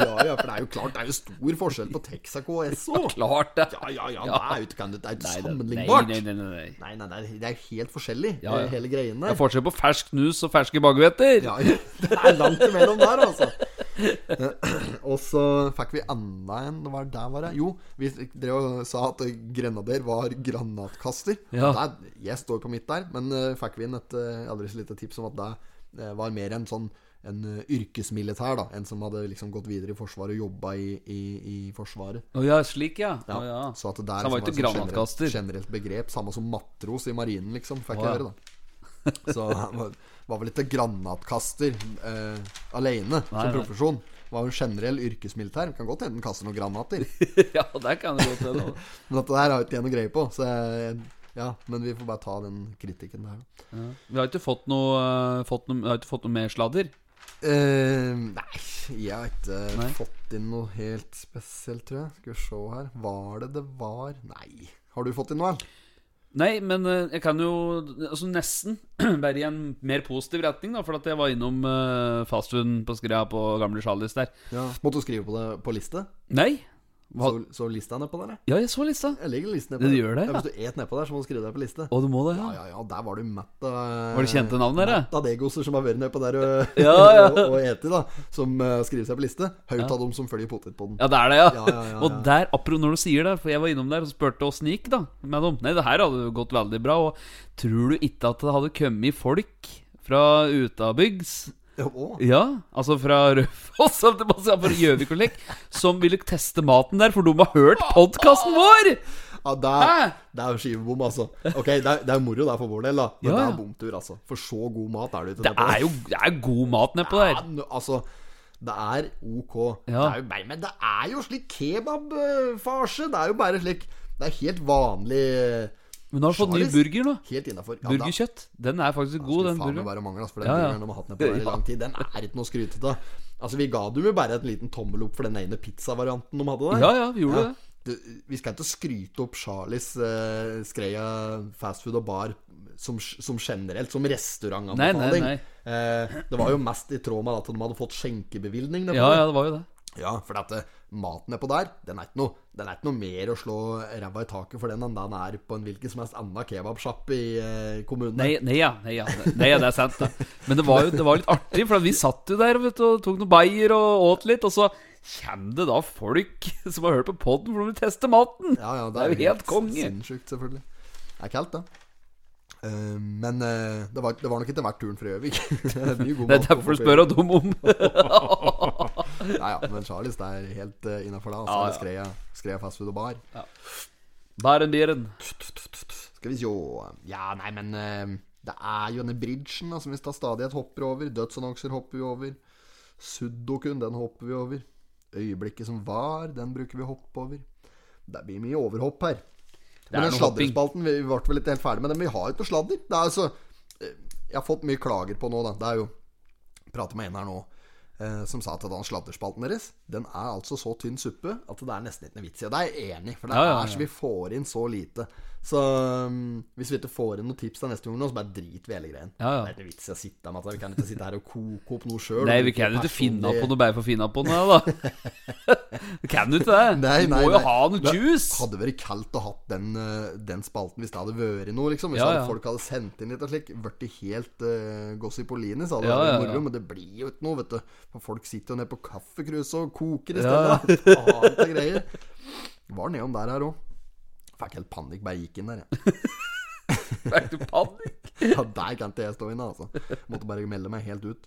S1: ja, ja, for det er jo klart det er jo stor forskjell på Texaco og Esso.
S2: Klart det.
S1: Ja, ja, ja, det er jo ikke kan du- det er
S2: Nei,
S1: ikke
S2: det-
S1: sammenlignbart.
S2: Nei, nei, nei, nei.
S1: Nei, nei, nei, det er helt forskjellig,
S2: Ja, ja.
S1: hele greien
S2: Det
S1: der.
S2: er forskjell på fersk snus og ferske baguetter.
S1: Ja, det er langt imellom der, altså. Og så fikk vi enda en Hva var det der var det? Jo, vi drev og sa at grenader var granatkaster.
S2: Ja.
S1: Der, jeg står på mitt der, men eh, fikk vi inn et eh, aldri så lite tips om at det eh, var mer en sånn en eh, yrkesmilitær, da. En som hadde liksom gått videre i Forsvaret og jobba i, i, i Forsvaret.
S2: Å ja, slik, ja. Å, ja.
S1: Så at det der
S2: Så han var
S1: liksom
S2: ikke
S1: et sånt
S2: granatkaster.
S1: Generelt, generelt begrep. Samme som matros i marinen, liksom. Fikk jeg
S2: Å, ja.
S1: høre, da. Så han var, var vel ikke granatkaster eh, alene
S2: Nei,
S1: som
S2: nei.
S1: profesjon. Var jo en generell yrkesmilitær. Kan godt hende den kaster noen granater.
S2: ja, der kan det godt hende.
S1: Men dette der har jo ikke jeg noe greie på. Så jeg, ja, men vi får bare ta den kritikken der, da.
S2: Ja. Vi har ikke fått noe, eh, fått noe, vi har ikke fått noe mer sladder.
S1: Eh, nei, jeg har ikke
S2: Nei.
S1: fått inn noe helt spesielt, tror jeg. Skal vi se her. Var det det var Nei. Har du fått inn noe? eller?
S2: Nei, men eh, jeg kan jo altså nesten bare i en mer positiv retning, da. For at jeg var innom uh, fastfood på Skrea på Gamle Charlies der.
S1: Måtte du skrive på det på liste?
S2: Nei. Hva?
S1: Så, så lista er nedpå der, jeg.
S2: Ja, jeg så lista.
S1: Jeg legger listen
S2: Ja,
S1: nedpå
S2: du gjør det,
S1: ja.
S2: ja.
S1: Hvis du et nedpå der, så må du skrive deg på liste.
S2: Å, du må det, ja?
S1: Ja, ja, ja, der var det jo mett av
S2: Var det kjente navn der, ja?
S1: Mett av degoser som har vært nedpå der og,
S2: Ja, ja.
S1: og, og eti, da. Som eh, skriver seg på liste. Høyt av dem som følger potetpodden.
S2: Ja, det er det, ja.
S1: Ja, ja, ja, ja.
S2: Og der, apropos når du sier det, for jeg var innom der og spurte åssen det gikk da med dem. Nei, det her hadde jo gått veldig bra, og tror du ikke at det hadde kommet folk fra utabygds?
S1: Ja. å,
S2: Ja, altså fra Rødfoss, holdt jeg på å si, fra Gjøvik og slik, som ville teste maten der, for de har hørt podkasten vår!
S1: ja, det er,
S2: Hæ?
S1: det er jo skivebom, altså. Ok, det er, det er moro der for vår del, da. Men
S2: Ja,
S1: det
S2: ja.
S1: er bomtur, altså. For så god mat er det ikke
S2: Det
S1: nedpå der.
S2: er jo det er god mat nedpå der.
S1: Ja, nå, altså det er ok. Det
S2: Ja.
S1: er jo bare, men det er jo slik kebabfarse. Det er jo bare slik Det er helt vanlig
S2: Men nå har du fått ny
S1: Charles?
S2: burger nå.
S1: Helt innafor.
S2: Burgerkjøtt. Den er faktisk god,
S1: Skulle
S2: den
S1: faen meg
S2: burgeren.
S1: bare mangle, altså, for den
S2: Ja, ja.
S1: burgeren de har hatt ned på der i lang tid, den er ikke noe å skryte av. Altså, vi ga dem jo bare en liten tommel opp for den ene pizzavarianten de hadde der.
S2: Ja, ja, vi gjorde det.
S1: Du, Vi skal ikke skryte opp Charlies eh, Skreia fastfood og bar som, som generelt, som restaurantanbefaling.
S2: Nei, nei,
S1: Eh, det var jo mest i tråd med at de hadde fått skjenkebevilgning. nedpå
S2: Ja,
S1: der.
S2: ja, det var jo det.
S1: Ja, for at eh, maten nedpå der, den er ikke noe Den er ikke noe mer å slå ræva i taket for den enn den er på en hvilken som helst annen kebabsjappe i eh, kommunen.
S2: Nei, nei, ja, nei, ja, nei, ja, det er sant. Da. Men det var jo det var litt artig, for vi satt jo der vet du, og tok noen bayer og åt litt. Og så kommer det da folk som har hørt på poden, for de vil teste maten!
S1: Ja, ja,
S2: Det er jo helt konge.
S1: Sinnssykt, selvfølgelig. Det er kaldt, da. Eh, men eh, det, var, det var nok ikke verdt turen for Gjøvik. det er mye god
S2: Det er
S1: mat på
S2: derfor du spør dem om.
S1: Gjøvik. Ja, ja, men Charlies, det er helt uh, innafor da. Altså,
S2: Ja, ja.
S1: Skreia, Skreia fast food og bar.
S2: Bæren, bieren.
S1: Skal vi sjå Ja, nei, men eh, det er jo denne bridgen da, som vi tar stadighet hopper over. Dødsannonser hopper vi over. Suddokun, den hopper vi over. Øyeblikket som var, den bruker vi å hoppe over. Det blir mye overhopp her.
S2: er
S1: Men den
S2: noe hopping.
S1: sladrespalten, vi vi ble vel ikke helt ferdig med den. men Vi har jo ikke noe sladder. Det er altså eh, Jeg har fått mye klager på nå, da. Det er jo Prater med en her nå eh, som sa at den sladderspalten deres Den er altså så tynn suppe at det er nesten ikke noe vits i. Og det er jeg enig i, for det
S2: Ja, ja, ja.
S1: er så vi får inn så lite. Så um, hvis vi ikke får inn noen tips til neste gang, nå, så bare drit vi hele greien.
S2: Ja, ja.
S1: Det er ikke noe vits i å sitte med det. Vi kan ikke sitte her og koke opp noe sjøl.
S2: Nei, vi kan jo ikke finne på noe bare for å finne på noe, da. Vi kan jo ikke det.
S1: Nei,
S2: Vi
S1: nei,
S2: må jo
S1: nei.
S2: ha noe
S1: Men
S2: juice.
S1: Hadde vært kaldt å hatt den, eh, den spalten hvis det hadde vært noe, liksom. Hvis
S2: Ja,
S1: hadde
S2: ja.
S1: folk hadde sendt inn litt og slik. Blitt helt uh, gossipolini, så hadde det
S2: Ja,
S1: vært
S2: ja,
S1: moro.
S2: ja.
S1: Men det blir jo ikke noe, vet du. For folk sitter jo nede på kaffekruset og koker i
S2: Ja,
S1: stedet. Ja. Annet og greier. Var nedom der her òg. Fikk helt panikk bare jeg gikk inn der, jeg.
S2: Back to panic.
S1: Ja, der kan ikke jeg stå inne, altså. Måtte bare melde meg helt ut.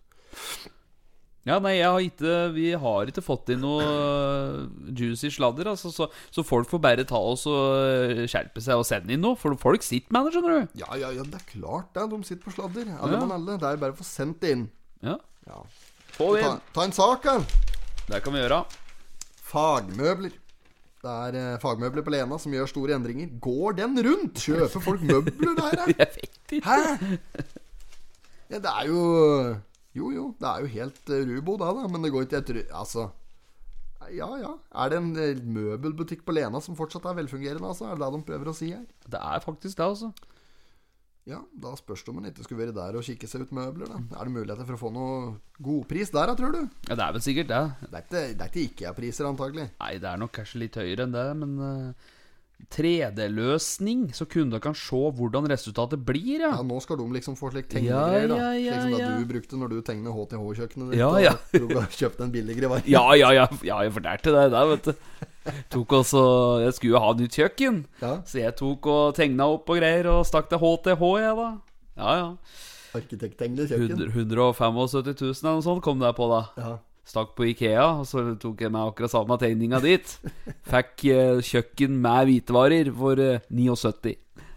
S2: Ja, nei, jeg har ikke Vi har ikke fått inn noe øh, juicy sladder, altså, så, så folk får bare ta oss og øh, skjerpe seg og sende inn noe. For folk sitter med det, skjønner du.
S1: Ja, ja, ja, det er klart det. De sitter på sladder. Alle
S2: Ja.
S1: mann alle. Det er bare å få sendt det inn.
S2: Ja,
S1: Ja.
S2: Få det
S1: Ta,
S2: inn.
S1: ta en sak, da.
S2: Det kan vi gjøre.
S1: Fagmøbler. Det er eh, fagmøbler på Lena som gjør store endringer. Går den rundt? Kjøper folk møbler der, da?
S2: Jeg vet ikke.
S1: Hæ? Ja, det er jo Jo, jo, det er jo helt eh, rubo da, da, men det går ikke etter Altså. Ja, ja. Er det en eh, møbelbutikk på Lena som fortsatt er velfungerende, altså? Er det det de prøver å si her?
S2: Det er faktisk det, altså.
S1: Ja, da spørs det om en ikke skulle vært der og kikke seg ut møbler, da. Er det muligheter for å få noe godpris der, da, tror du?
S2: Ja, Det er vel sikkert det.
S1: Det er ikke, det er ikke IKEA-priser, antagelig.
S2: Nei, det er nok kanskje litt høyere enn det, men øh, 3D-løsning, så kunder kan se hvordan resultatet blir, ja.
S1: Ja, nå skal de liksom få slik
S2: Ja,
S1: tegnegreier, da.
S2: ja, ja,
S1: slik som det
S2: ja.
S1: du brukte når du tegnet HTH-kjøkkenet ditt.
S2: Ja, ja.
S1: Og kjøpte en billigere vare.
S2: Ja, ja, ja, ja jeg fortalte deg det, vet du. Tok også, jeg skulle jo ha nytt kjøkken,
S1: Ja.
S2: så jeg tok og tegna opp og greier og stakk til HTH, jeg, da. Ja, ja.
S1: Arkitekttegnede
S2: 100,
S1: kjøkken.
S2: 175 000 eller noe sånt kom det på, da.
S1: Ja.
S2: Stakk på Ikea, og så tok jeg med akkurat samme tegninga dit. Fikk eh, kjøkken med hvitevarer for eh, 79.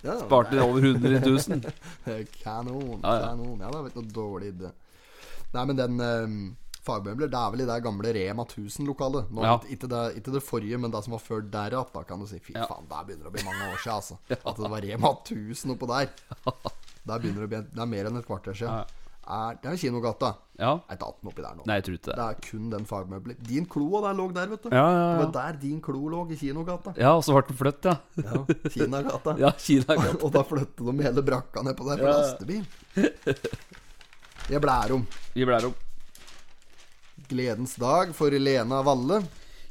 S1: Ja,
S2: Sparte over 100 000.
S1: Eh, Kanon,
S2: Ja, ja.
S1: kanon. Ja, det er ikke noe dårlig idé. Nei, men den eh, fagmøbler, det er vel i det gamle Rema 1000-lokalet. Nå,
S2: Ja.
S1: ikke, det, ikke det forrige, men det som var før derav, da kan du si. Fy
S2: Ja.
S1: faen, der begynner det å bli mange år siden, altså. At det var Rema 1000 oppå der. Der begynner det å bli Det er mer enn et kvarter siden.
S2: Ja.
S1: Er, det er Kinogata.
S2: Ja.
S1: Er ikke 18 oppi der nå.
S2: Nei, jeg tror ikke
S1: Det
S2: det.
S1: er kun den fagmøbler. Din klo der lå der, vet du.
S2: Ja, ja,
S1: Det
S2: ja.
S1: var der din klo lå, i Kinogata.
S2: Ja, og så ble den flytt, ja.
S1: Ja, Kinagata.
S2: Ja, Kina
S1: og da flyttet de hele brakka ned på der på
S2: Ja.
S1: lastebil. Jeg blærer om.
S2: Vi blærer om.
S1: Gledens dag for Lena Valle.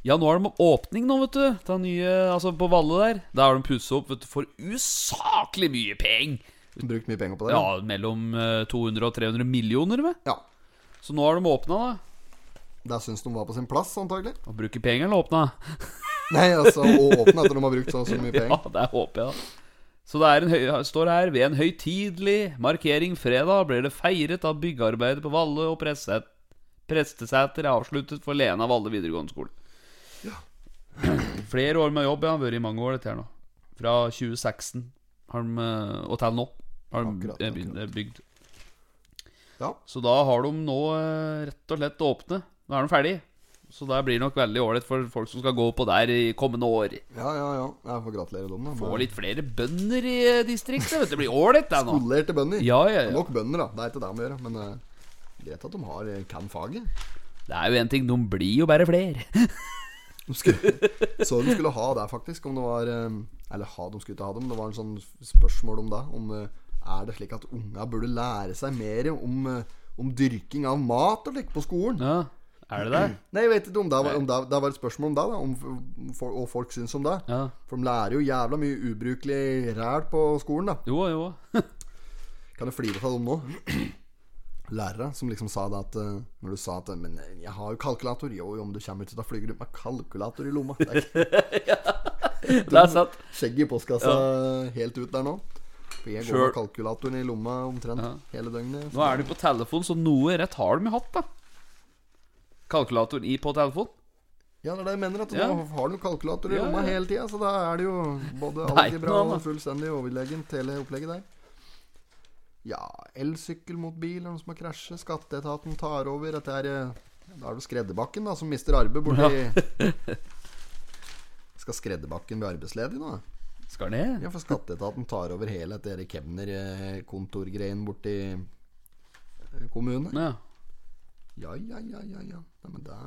S2: Ja, nå har de åpning nå, vet du. Den nye, altså På Valle der. Der har de pussa opp vet du, for usaklig mye penger.
S1: Brukt mye penger på det.
S2: Ja, mellom eh, 200 og 300 millioner, vel.
S1: ja.
S2: Så nå har de åpna, da.
S1: Der syns de var på sin plass, antagelig.
S2: Å bruke penger eller åpna?
S1: Nei, altså, og åpne etter de har brukt så og så mye
S2: Ja,
S1: penger.
S2: det håper jeg, da. Så det er en høy, står her ved en høytidelig markering fredag blir det feiret at byggearbeidet på Valle og Presset- Prestesæter er avsluttet for Lena Valle videregående skole. Flere år med jobb, ja. Vært i mange år, dette her nå. Fra 2016 har de, eh, og til nå har de
S1: Akkurat,
S2: eh, begynt- bygd.
S1: Ja.
S2: Så da har de nå eh, rett og slett åpne. Nå er de ferdig. Så det blir nok veldig ålreit for folk som skal gå på der i kommende år.
S1: ja, ja, ja. Jeg får gratulere dem, da.
S2: Få litt flere bønder i eh, distriktet. Vet du. Det blir ålreit, det nå.
S1: Skolerte bønder.
S2: Ja, ja, ja.
S1: Nok bønder, da. Det er ikke det de gjør, men eh, greit at de har eh, kan faget.
S2: Det er jo én ting, de blir jo bare flere.
S1: De skulle, så de skulle ha det, faktisk. Om det var eh, Eller ha, de skulle ikke ha det, men det var en sånn spørsmål om det. Om eh, er det slik at unga burde lære seg mer om, eh, om dyrking av mat og slikt på skolen?
S2: Ja, er det det?
S1: Nei, jeg vet ikke om det var, om det, det var et spørsmål om det, da. Om, f- for, og folk syns om det.
S2: Ja.
S1: For de lærer jo jævla mye ubrukelig ræl på skolen, da.
S2: Jo, jo.
S1: Kan jeg flire av dem nå? Lærere som liksom sa det at eh, Når du sa at eh, Men jeg har jo kalkulator. Jo, jo, om du kommer ut, da flyger du med kalkulator i lomma. Det er ikke
S2: Det er sant.
S1: skjegget i postkassa helt ut der nå. For jeg går
S2: Sure.
S1: med kalkulatoren i lomma omtrent hele døgnet.
S2: Nå er du på telefon, så noe rett har de jo hatt, da. Kalkulatoren i på telefon.
S1: Ja, det er det jeg mener. At
S2: Ja.
S1: Nå har du kalkulator i
S2: Ja,
S1: lomma
S2: ja.
S1: hele tida, så da er det jo både
S2: Nei,
S1: alltid bra
S2: nå, da.
S1: og fullstendig overlegent, hele opplegget der. Ja, elsykkel mot bil, er det noen som har krasjet, skatteetaten tar over Dette er eh, Da er det Skredderbakken, da, som mister arbeid borti Skal Skredderbakken bli arbeidsledig nå?
S2: Skal ned.
S1: Ja, for skatteetaten tar over hele dette her kemnerkontorgreien borti eh, kommunen.
S2: Ja.
S1: Ja, ja, ja, ja, ja. Nei, men det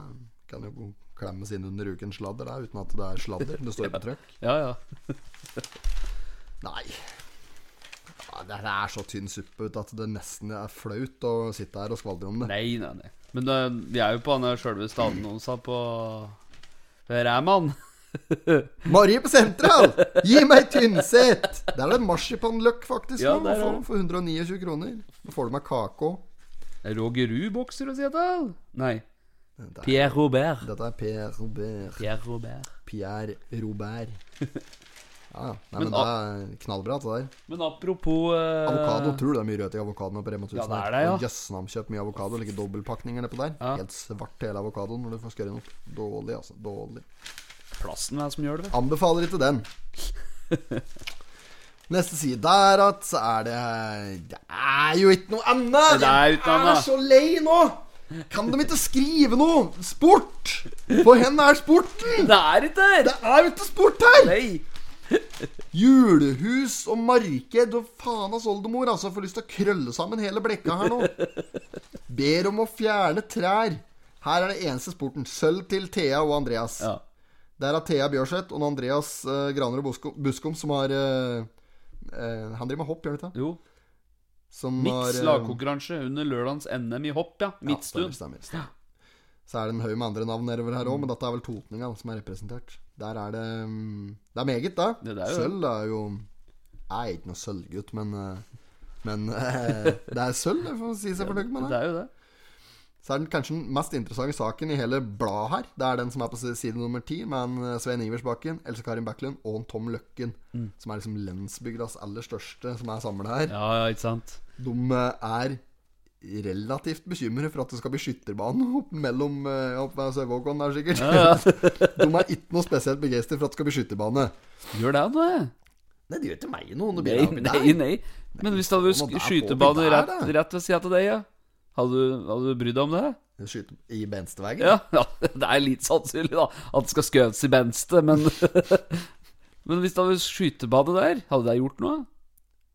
S1: kan jo klemmes inn under ukens sladder, da, uten at det er sladder. Det står på trykk.
S2: ja, ja.
S1: Nei. Ja, Det her er så tynn suppe ut at det nesten er flaut å sitte her og skvaldre om det.
S2: Nei, nei, nei. Men eh, vi er jo på den sjølve staden på Ræman.
S1: Marie på Sentral! Gi meg Tynset! Der er det marsipanløk, faktisk.
S2: Ja,
S1: nå,
S2: der er
S1: for,
S2: det.
S1: for 129 kroner. Nå får du meg kake òg.
S2: Roger Ruud-bokser og Seattle? Nei.
S1: Dette er-
S2: Pierre Robert.
S1: dette er Per Robert.
S2: Pierre Robert.
S1: Pierre Robert. Ja, Ja, ja. Nei, men,
S2: Men
S1: det er knallbra, det der.
S2: Men apropos eh,
S1: Avokado. Tror du det er mye rødt i avokadoen på Rema 1000?
S2: Ja, det er
S1: her?
S2: det, ja.
S1: Og Jøssen har de kjøpt mye avokado. Like dobbeltpakninger nedpå der.
S2: Ja.
S1: Helt svart hele avokadoen når du får skåret den opp. Dårlig, altså. Dårlig.
S2: Plassen er som gjør det. vet du.
S1: Anbefaler ikke den. Neste side der at så er det Det er jo ikke noe annet!
S2: Det er ikke noe
S1: Jeg er
S2: annet.
S1: så lei nå! Kan de ikke skrive noe? Sport! For hen er sporten?
S2: Det er ikke
S1: Det
S2: der!
S1: er jo ikke sport her!
S2: Nei!
S1: Julehus og marked og faen hans oldemor altså får lyst til å krølle sammen hele blekka her nå. Ber om å fjerne trær. Her er det eneste sporten. Sølv til Thea og Andreas.
S2: Ja.
S1: Det er av Thea Bjørseth og Andreas uh, Granerud Buskom, Buskom som har eh, eh, Han driver med hopp, gjør han ikke det?
S2: Jo.
S1: Som har,
S2: Miks
S1: eh,
S2: lagkonkurranse under lørdagens NM i hopp, ja.
S1: ja, stemmer,
S2: Midtstuen.
S1: stemmer, stemmer. Så er det en haug med andre navn nedover her òg, men dette er vel Totninga da, som er representert. Der er det mm, Det er meget, da.
S2: Det er jo-
S1: Sølv er jo Jeg er ikke noe sølvgutt, men eh, Men eh, det er sølv, jeg får si seg fornøyd med det.
S2: Det er jo det.
S1: Så er den kanskje den mest interessante saken i hele bladet her. Det er den som er på side nummer ti, med en eh, Svein Iversbakken, Else Karin Backlund og en Tom Løkken. Som er liksom lensbygdas aller største som er samla her.
S2: Mm. Ja, ja, ikke sant.
S1: De eh, er relativt bekymret for at det skal bli skytterbane opp mellom eh, ja, opp ved Sørvågån der, sikkert. De er ikke noe spesielt begeistret for at det skal bli skytterbane.
S2: Gjør det, da.
S1: Nei, det gjør ikke meg noe. om Det
S2: Nei,
S1: blir oppi der.
S2: nei, nei. Men hvis det
S1: Nå,
S2: hadde
S1: der
S2: vært
S1: får
S2: skytebane
S1: vi der,
S2: rett,
S1: da.
S2: rett ved sida av deg, ja. hadde, du- hadde du brydd deg om det?
S1: Skyte i Benstevegen.
S2: Ja, ja, det er litt sannsynlig, da. At det skal skjøtes i benste, men Men hvis det hadde vært skytebane der, hadde det gjort noe?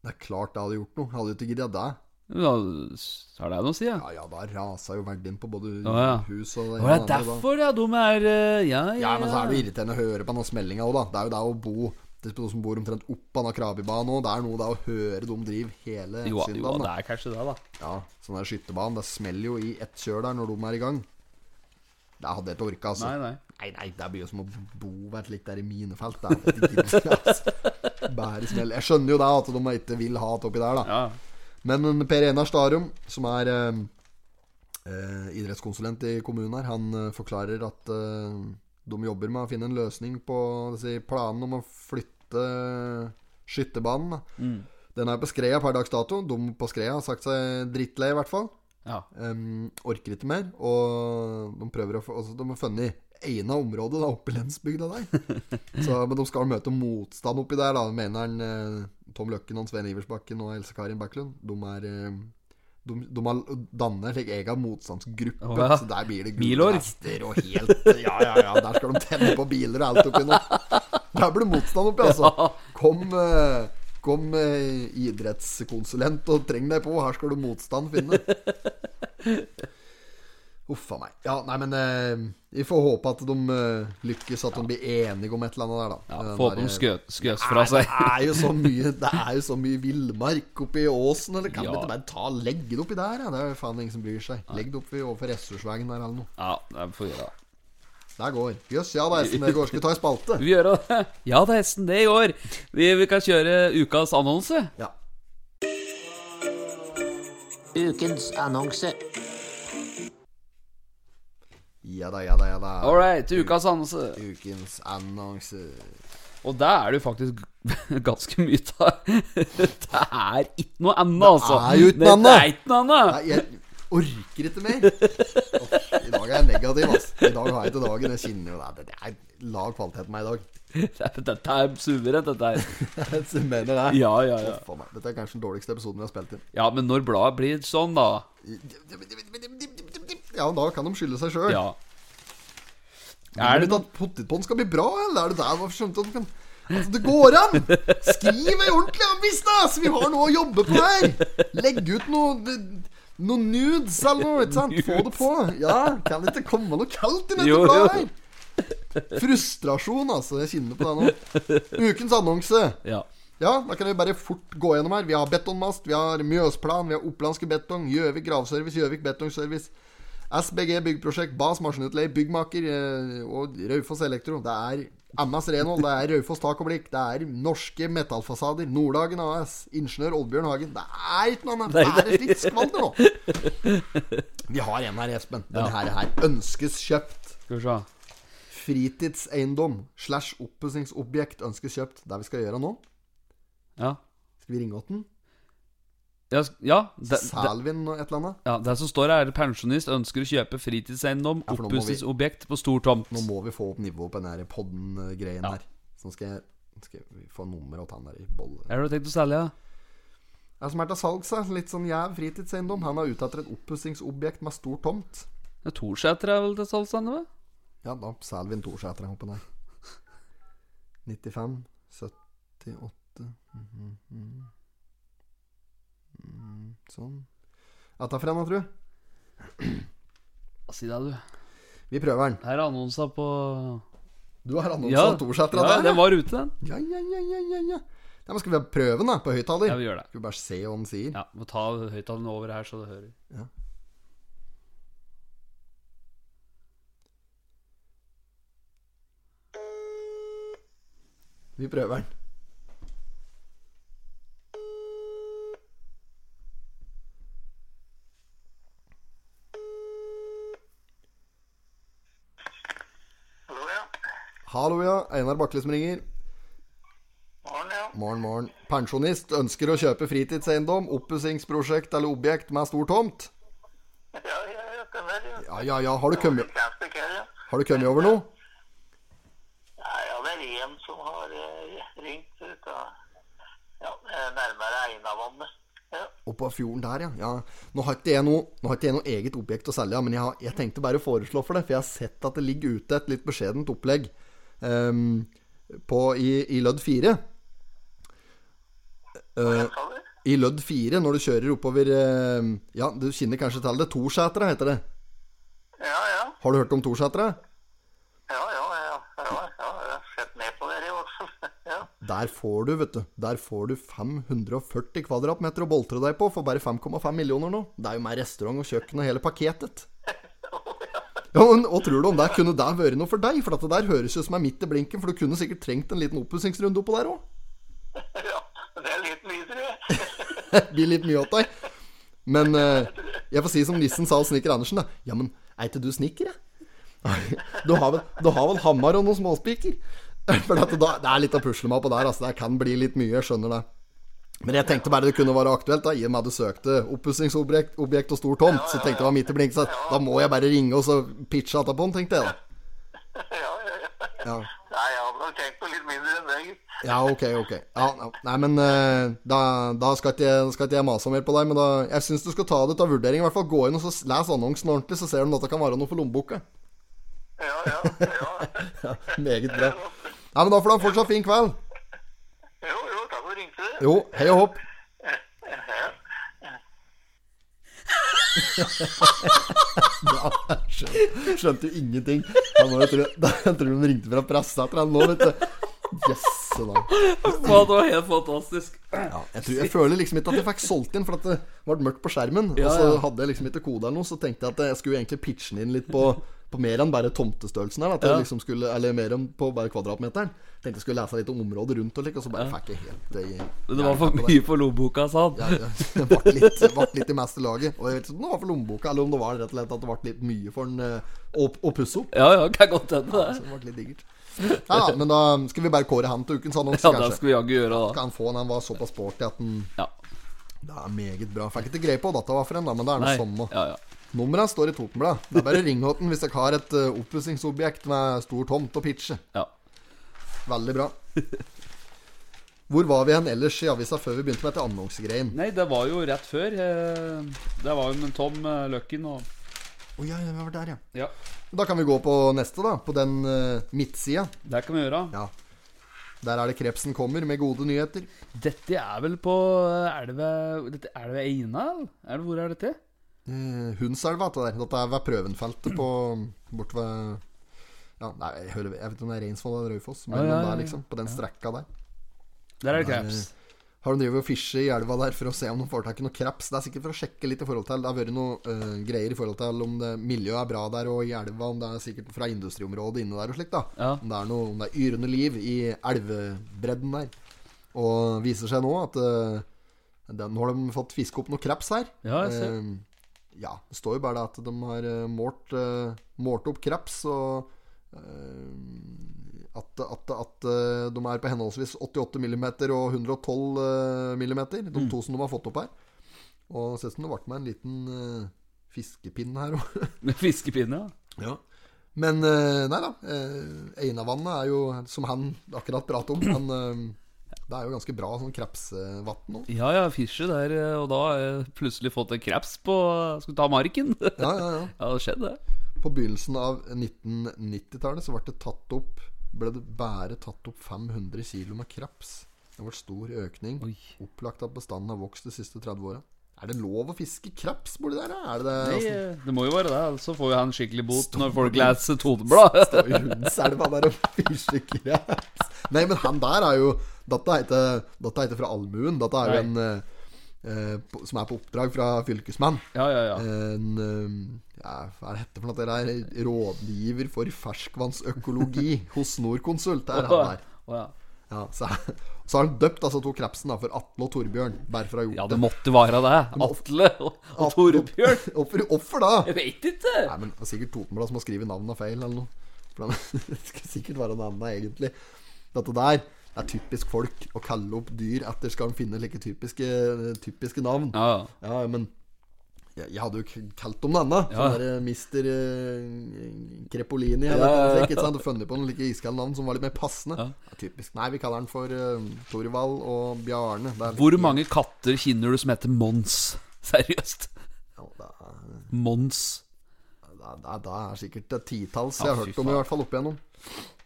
S1: Det er klart det hadde gjort noe. Hadde jo ikke gidda det.
S2: Ja, så har det noe å si, ja.
S1: Ja ja, da rasa jo verdien på både
S2: ja.
S1: hus og
S2: Å, det er
S1: ene og det andre, da.
S2: derfor, ja. De er eh, Ja, ja.
S1: Ja, men så er det jo irriterende å høre på den smellinga òg, da. Det er jo det å bo Det er noen som bor omtrent opp av den Krabibanen òg. Det er noe det å høre dem drive hele
S2: Jo, jo,
S1: søndagen,
S2: det
S1: da.
S2: er kanskje det, da.
S1: Ja, sånn der skytterbanen. Det smeller jo i ett kjør der når de er i gang. Det hadde jeg ikke orka, altså.
S2: Nei, nei.
S1: Nei, nei, det blir jo som å bo hvert likt der i minefelt. Det er jo ikke gitt, altså. Bare smell. Jeg skjønner jo det, at de ikke vil ha det oppi der, da.
S2: Ja.
S1: Men Per Enar Starum, som er eh, eh, idrettskonsulent i kommunen her, han eh, forklarer at eh, de jobber med å finne en løsning på disse planene om å flytte eh, skytterbanen. da. Den er på Skreia per dags dato. De på Skreia har sagt seg drittlei, i hvert fall.
S2: ja.
S1: Em, orker ikke mer. Og de prøver å få altså, De har funnet egna område da, oppe i lensbygda der. Så, men de skal møte motstand oppi der, da, mener han eh, Tom Løkken og Svein Iversbakken og Else Karin Backlund. De er eh, de, de har dannet en slik egen motstandsgruppe.
S2: Å, ja.
S1: Så der blir det
S2: Bilår.
S1: gule vester og helt Ja, ja, ja. Der skal de tenne på biler og alt oppi nå. Der blir det motstand oppi, altså. Kom, eh, kom eh, idrettskonsulent og treng deg på. Her skal du motstand finne. Uff a meg. Ja, nei, men eh, vi får håpe at de eh, lykkes, at de blir enige om et eller annet der, da.
S2: ja
S1: Eh, den
S2: Få på dem
S1: der-
S2: skøs skøs fra seg.
S1: Nei, Det er jo så mye Det er jo så mye villmark oppi åsen, eller kan
S2: Ja.
S1: vi ikke bare ta legge det oppi der? Ja? Det er jo faen ingen som bryr seg. Legg det oppi overfor ressursveien der eller noe.
S2: Ja, det får vi gjøre. da.
S1: Der går. Jøss, ja da, Esten, det går. Skal vi ta en spalte?
S2: Vi gjør det. Ja, det er hesten det i år. Vi, vi kan kjøre ukas annonse.
S1: Ja.
S6: Ukens annonse.
S1: Ja da, ja da, ja da.
S2: All right, ukas annonse.
S1: Ukens annonse.
S2: Og der er det jo faktisk ganske mye ta. Det er ikke noe annet, altså.
S1: er jo ikke noe
S2: Det
S1: annet.
S2: er ikke noe annet.
S1: Nei, jeg orker ikke mer. Åh, I dag er jeg negativ, ass. I dag har jeg ikke dagen. Jeg kjenner jo det. Det er lav kvalitet på meg i dag.
S2: Det- Dette er suverent, dette her.
S1: Jeg mener det.
S2: Ja, ja, ja.
S1: Faen meg, Dette er kanskje den dårligste episoden vi har spilt inn.
S2: Ja, men når bladet blir sånn, da
S1: Ja, da kan de skylde seg sjøl.
S2: Ja.
S1: Er
S2: Er
S1: det
S2: det
S1: at potetpåen skal bli bra, eller er det der man skjønte at man kan Altså, det går an! Skriv ei ordentlig avis, da! Så vi har noe å jobbe på her! Legg ut noe noe nudes eller noe, ikke sant? Få det på. Ja, kan det ikke komme noe kaldt i dette
S2: Jo, jo.
S1: bladet her? Frustrasjon, altså. Jeg kjenner på det nå. Ukens annonse.
S2: Ja.
S1: Ja, da kan vi bare fort gå gjennom her. Vi har betonmast, vi har Mjøsplan, vi har Opplandske Betong, Gjøvik Gravservice, Gjøvik Betongservice, SBG Byggprosjekt, Bas Maskinutleie, Byggmaker eh, og Raufoss Elektro. Det er MS Renhold, det er Raufoss Tak og Blikk, det er Norske Metallfasader, Nordhagen AS, Ingeniør Oddbjørn Hagen. Det er ikke noe annet. Det er et litt skvander nå. Vi har en her, Espen. Denne her, her ønskes kjøpt.
S2: Skal vi se.
S1: fritidseiendom slash oppussingsobjekt ønskes kjøpt. Det er vi skal gjøre nå.
S2: Ja.
S1: Skal vi ringe åt den?
S2: Ja, s- ja, det, det,
S1: Salvin og et eller annet?
S2: ja, det som står her, er pensjonist ønsker å kjøpe fritidseiendom,
S1: Ja, for nå må vi-
S2: oppussingsobjekt på stor tomt.
S1: Nå må vi få opp nivået på den her podden-greien
S2: Ja.
S1: her. Så nå skal jeg skal vi få nummeret til han der i bolle.
S2: Er det du har tenkt å selge? da?
S1: Det som er til salgs, da. Litt sånn jæv fritidseiendom. Han er ute etter et oppussingsobjekt med stor tomt.
S2: Ja, Torseter er vel til salgs ennå? vel?
S1: Ja, da selger vi en Torsæter her oppe der. 95, 78 mhm, mhm. Mm, Sånn. Ja, ta frem, da, tru.
S2: Si det, du.
S1: Vi prøver den.
S2: Her er annonsa på
S1: Du har annonsa
S2: Ja,
S1: ja. Torsæter
S2: ja,
S1: der?
S2: den var ute, den.
S1: Ja, ja, ja, ja, ja, ja. ja men skal vi prøve den, da? På høyttaler?
S2: Ja, vi gjør det.
S1: Skal vi bare se hva den sier?
S2: Ja, Må ta høyttaleren over her, så du hører.
S1: Vi prøver den.
S7: Hallo, ja.
S1: Hallo, ja. Einar Bakle som ringer.
S7: Morgen, ja.
S1: Morgen, morgen. Pensjonist ønsker å kjøpe fritidseiendom, oppussingsprosjekt eller objekt med stor tomt.
S7: Ja, ja, ja, stemmer, ja.
S1: Ja, ja, ja. Har du kommet,
S7: Kjempekøy, ja.
S1: har du kommet over noe?
S7: Nei, ja, det er en som har eh, ringt ut av ja, eh, nærmere Einavannet. Ja.
S1: Oppå fjorden der, ja. ja. Nå har ikke jeg noe, nå har ikke jeg noe eget objekt å selge, men jeg, har, jeg tenkte bare å foreslå for det, for jeg har sett at det ligger ute et litt beskjedent opplegg ehm, på, i, i lødd 4.
S7: Hva sa du?
S1: I lødd 4, når du kjører oppover ehm, Ja, du kjenner kanskje til det. Torsætra heter det.
S7: Ja, ja.
S1: Har du hørt om Torsætra?
S7: Ja, ja, ja. ja, ja, jeg har sett ned på dere i hvert fall. Ja.
S1: Der får du, vet du. Der får du 540 kvadratmeter å boltre deg på for bare 5,5 millioner nå. Det er jo med restaurant og kjøkken og hele pakketet. Ja, men Hva tror du om det? Kunne det vært noe for deg? For at det der høres jo som er midt i blinken, for du kunne sikkert trengt en liten oppussingsrunde oppå der òg.
S7: ja, det er litt mye, tror jeg.
S1: Blir litt mye åt deg. Men eh, jeg får si som nissen sa hos snekker Andersen, da. Ja, men er ikke du snekker, jeg? Du har, vel, du har vel hammer og noen småspiker? For at da, det er litt å pusle meg på der, altså. Det kan bli litt mye, jeg skjønner det. Men jeg tenkte bare det kunne være aktuelt, da, i og med at du søkte oppussingsobjekt objekt og stor tomt. Så tenkte jeg det var midt i blink, så da må jeg bare ringe og så pitche etterpå, tenkte jeg da.
S7: Ja, ja, ja.
S1: Ja,
S7: Nei, jeg hadde nok tenkt på litt mindre enn det. gitt.
S1: ja ok, ok. Ja, ja. nei, men eh, da, da skal ikke jeg, skal ikke jeg mase mer på deg, men da, jeg syns du skal ta det ut av vurdering. I hvert fall gå inn og så les annonsen ordentlig, så ser du om dette kan være noe for lommeboka.
S7: Ja, ja, ja.
S1: Meget bra. Nei, men da får du ha en fortsatt fin kveld.
S7: Jo, jo, takk for at du ringte.
S1: Jo, hei og hopp. Bra. Skjønte, skjønte jo ingenting. Ja, nå, jeg, tror, jeg tror de ringte fra Pressæter eller noe, vet du. Jøsse da.
S2: Ja, det var helt fantastisk.
S1: Ja, jeg, tror, jeg føler liksom ikke at jeg fikk solgt inn, for at det ble mørkt på skjermen.
S2: Ja,
S1: Og så
S2: ja.
S1: hadde jeg liksom ikke kode eller noe, så tenkte jeg at jeg skulle egentlig pitche den inn litt på på mer enn bare tomtestørrelsen her. At jeg
S2: Ja.
S1: liksom skulle, eller mer enn på bare kvadratmeteren. Tenkte jeg skulle lese litt om området rundt og slik, og så bare fikk jeg helt eh,
S2: Men det var for mye for lommeboka, sa han.
S1: Ja, ja. det ble litt, det ble litt i meste laget. Og jeg vet ikke om det var for lommeboka, eller om det var rett og slett at det ble litt mye for den eh, å, å pusse opp.
S2: Ja, ja, kan godt
S1: Så
S2: hende det.
S1: det ble litt digert. Ja, ja, men da skal vi bare kåre han til ukens annonse,
S2: Ja, det
S1: kanskje.
S2: skal vi jaggu gjøre, da.
S1: Kan få han, han var såpass sporty at han
S2: Ja.
S1: Det er meget bra. Fikk ikke greie på hva dette var for en, da, men det er sånn
S2: Nei.
S1: det samme.
S2: Ja, ja.
S1: Nummeret står i Totenbladet. Det er bare å ringe åt den hvis dere har et uh, oppussingsobjekt med stor tomt og pitche.
S2: ja.
S1: Veldig bra. Hvor var vi hen ellers i avisa før vi begynte med dette annonsegreien?
S2: Nei, det var jo rett før. eh, Det var jo med Tom eh, Løkken og
S1: Å ja, ja, vi var der, ja.
S2: Ja,
S1: Da kan vi gå på neste, da. På den uh, midtsida.
S2: det kan vi gjøre.
S1: Ja. Der er det Krepsen kommer med gode nyheter.
S2: Dette er vel på eh, Er det ved, dette, er det ved Eina? eller? Er det, hvor er dette?
S1: Eh, Hundselva, dette der. Dette er ved Prøvenfeltet på Bort ved ja, nei, jeg, hører, jeg vet ikke om det er Reinsvoll eller Raufoss, men
S2: Ja, ja, ja,
S1: der,
S2: ja.
S1: liksom. På den strekka der.
S2: Der er det
S1: Nei.
S2: kreps.
S1: Har de drevet og fisket i elva der for å se om de får tak i noe kreps? Det er sikkert for å sjekke litt i forhold til Det har vært noe eh, greier i forhold til om det, miljøet er bra der og i elva, om det er sikkert fra industriområdet inne der og slikt, da.
S2: Ja.
S1: Om det er noe om det er yrende liv i elvebredden der. Og viser seg nå at eh, det, Nå har de fått fiske opp noe kreps her.
S2: Ja, jeg ser.
S1: Eh, ja, det står jo bare det at de har eh, målt, eh, målt opp kreps og eh, at, at, at eh, de er på henholdsvis 88 mm og 112 mm, de to som de har fått opp her. Og det ser ut som det ble meg en liten eh, fiskepinn her òg.
S2: Med fiskepinne, ja.
S1: Ja. Men eh, nei da. eh, Einavannet er jo, som han akkurat pratet om han, eh, Det er jo ganske bra sånn krepsevann nå.
S2: Ja, ja, Fischer der, eh, og da har jeg plutselig fått en kreps på eh, Skal du ta marken?
S1: Ja, ja, ja.
S2: ja, det skjedde, det.
S1: På begynnelsen av 1990-tallet så ble det tatt opp Ble det bare tatt opp 500 kilo med kreps. Det har vært stor økning.
S2: Oi.
S1: Opplagt at bestanden har vokst de siste 30 åra. Er det lov å fiske kreps borti der? da? Er det det?
S2: Nei,
S1: Åssen-
S2: eh, det må jo være det, ellers så får jo han skikkelig bot når folk leser Toneblad.
S1: Og i Hundselva der og fischer kreps. Nei, men han der er jo Dette heter, dette heter fra allmuen. Dette er jo en
S2: Nei.
S1: eh, eh, på- som er på oppdrag fra fylkesmann.
S2: Ja, ja, ja.
S1: En eh, ja, Hva er det hette for noe? Det der rådgiver for ferskvannsøkologi hos Norconsult. Det er han der.
S2: Å, ja.
S1: Ja, så, så har han døpt altså to krepsen da, for Atle og Torbjørn. Bare for å ha gjort
S2: ja, det måtte være det. Atle og, og Torbjørn.
S1: Hvorfor, hvorfor da?
S2: Jeg vet ikke.
S1: Nei, men det er sikkert Totenblad som har skrevet navnet feil eller noe. For han- det skal sikkert være noe annet, egentlig. Dette der det er typisk folk å kalle opp dyr etter skal de finne like typiske, typiske navn.
S2: Ja, ja.
S1: Ja, men jeg, jeg hadde jo k- kalt dem denne.
S2: Ja.
S1: Sånn der Mister eh, Krepolini eller
S2: Ja,
S1: noe
S2: ja, ja.
S1: sånt. Ikke sant? Og funnet på noen like iskalde navn som var litt mer passende.
S2: Ja.
S1: Ja, typisk. Nei, vi kaller den for uh, Torvald og Bjarne. Det er-
S2: Hvor mange katter kjenner du som heter Mons? Seriøst.
S1: Ja, det, er,
S2: Mons.
S1: det, er, det, er, det er sikkert et titalls
S2: Ja,
S1: jeg har
S2: fy
S1: hørt om, i
S2: faen.
S1: hvert fall opp igjennom.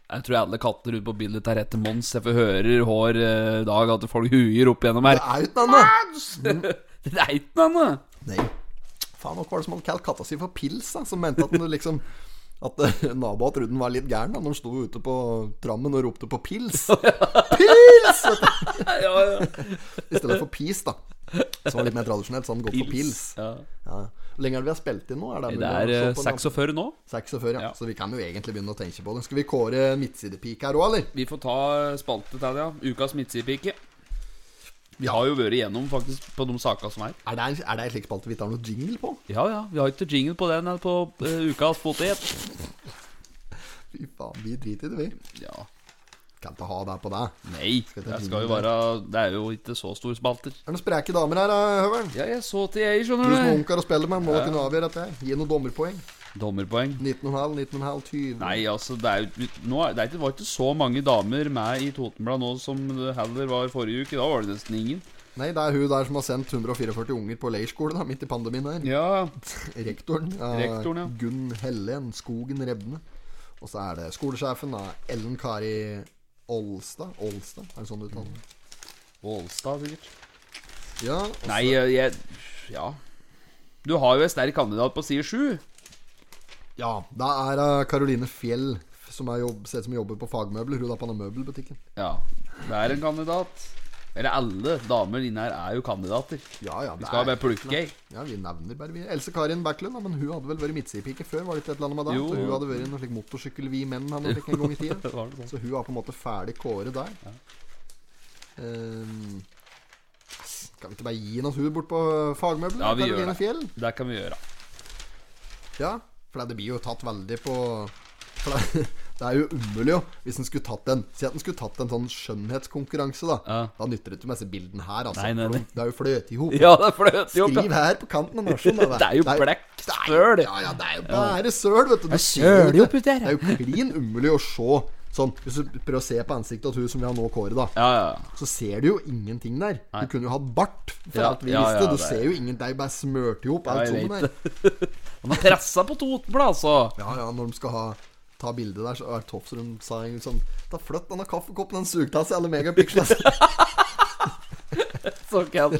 S2: Jeg tror alle katter ute på bildet tar etter Mons. Jeg får hører hver eh, dag at folk huier opp gjennom
S1: Det
S2: her.
S1: er jo ikke noe annet!
S2: Det er ikke noe annet.
S1: Nei. Faen, hva var det som han kalte katta si for Pils, da? Som mente at den liksom At eh, naboen trodde den var litt gæren da når den sto ute på trammen og ropte på Pils. Pils! Vet du.
S2: Ja, ja.
S1: I stedet for Pis, da. Som var litt mer tradisjonelt, så hadde den gått for Pils.
S2: Ja.
S1: Ja. Hvor lenge er det vi har spilt inn nå? Er det,
S2: Det er eh,
S1: mulig å se på nå?
S2: 46 nå.
S1: 46, ja.
S2: Ja.
S1: Så vi kan jo egentlig begynne å tenke på det. Skal vi kåre midtsidepik her òg, eller?
S2: Vi får ta spalte til det, ja. Ukas midtsidepike. Vi har jo vært igjennom faktisk på de sakene som er.
S1: Er det, en, er det en slik spalte vi tar noe jingle på?
S2: Ja, ja. Vi har ikke jingle på den eller på eh, ukas potet.
S1: Fy faen, vi driter i det, vi.
S2: Ja.
S1: Kan ikke ha det på deg.
S2: Nei.
S1: Skal ta
S2: det
S1: jingle
S2: skal jo
S1: der?
S2: være Det er jo ikke så store spalter.
S1: Er det noen spreke damer her, da, Høveren?
S2: Ja, jeg så til jeg,
S1: Du som er
S2: skjønner du.
S1: ungkar og spiller med, må da kunne avgjøre dette. her Gi noen dommerpoeng.
S2: Dommerpoeng.
S1: 19,5, 19,5, 20
S2: Nei, altså, det, er, jo- nå er, det, er ikke, var ikke så mange damer med i Totenblad nå som det heller var forrige uke. Da var det nesten ingen.
S1: Nei, det er hun der som har sendt 144 unger på leirskole da, midt i pandemien her.
S2: Ja,
S1: Rektoren. Ja,
S2: Rektoren, ja.
S1: Gunn Hellen Skogen Rebne. Og så er det skolesjefen, da. Ellen Kari Olstad. Olstad, er det sånn du uttaler det?
S2: Ålstad sikkert.
S1: Ja. og så-
S2: Nei, jeg, jeg Ja. Du har jo en sterk kandidat på side sju.
S1: Ja, da er det Karoline Fjell, som er jobb, ser ut som jobber på fagmøbler. Hun er på den møbelbutikken.
S2: Ja, det er en kandidat. Eller alle damer inne her er jo kandidater.
S1: Ja, ja,
S2: Vi
S1: det
S2: skal
S1: er-
S2: bare plukke ei.
S1: Ja, vi nevner bare vi. Else Karin Backlund, da, men hun hadde vel vært midtsidepike før? Var det ikke et eller annet med det?
S2: Jo.
S1: Så Hun hadde vært i noe slik motorsykkel vi menn hadde vært en gang i tida.
S2: Var det sånn?
S1: Så hun har på en måte ferdig kåret der. Ehm, skal vi ikke bare gi noe hun bort på fagmøbler?
S2: Ja, vi gjør
S1: Caroline
S2: det.
S1: Fjell?
S2: Det kan vi gjøre.
S1: Ja, for det blir jo tatt veldig på for det, det er jo umulig, jo. Hvis en skulle tatt en Si at en skulle tatt en sånn skjønnhetskonkurranse, da.
S2: Ja.
S1: Da nytter det ikke med disse bildene her, altså.
S2: Nei, nei, nei.
S1: Det er jo fløte i hop.
S2: Ja, det fløter jo opp.
S1: Skriv her på kanten av nasjonen. da.
S2: Det er jo blekk søl.
S1: Ja, ja, det er jo bare søl, vet du. du
S2: Jeg
S1: ser
S2: søler jo
S1: ikke.
S2: opp ut her.
S1: Det er jo klin umulig å se sånn. Hvis du prøver å se på ansiktet til hun som vi har nå kåret, da,
S2: Ja, ja, ja.
S1: så ser du jo ingenting der.
S2: Nei.
S1: Du kunne jo hatt bart, for
S2: Ja,
S1: alt vi
S2: ja, ja,
S1: visste. Du
S2: det er-
S1: ser jo ingen. Det er jo bare smørt i hop,
S2: Ja,
S1: alt
S2: jeg
S1: sammen
S2: vet
S1: der.
S2: Han har pressa på Totenblad, altså.
S1: Ja, ja, når de skal ha Ta bildet der, så er det topp som de sa en gang sånn Ta flytt denne kaffekoppen, den sugetassen, alle megapixlene.
S2: Så kan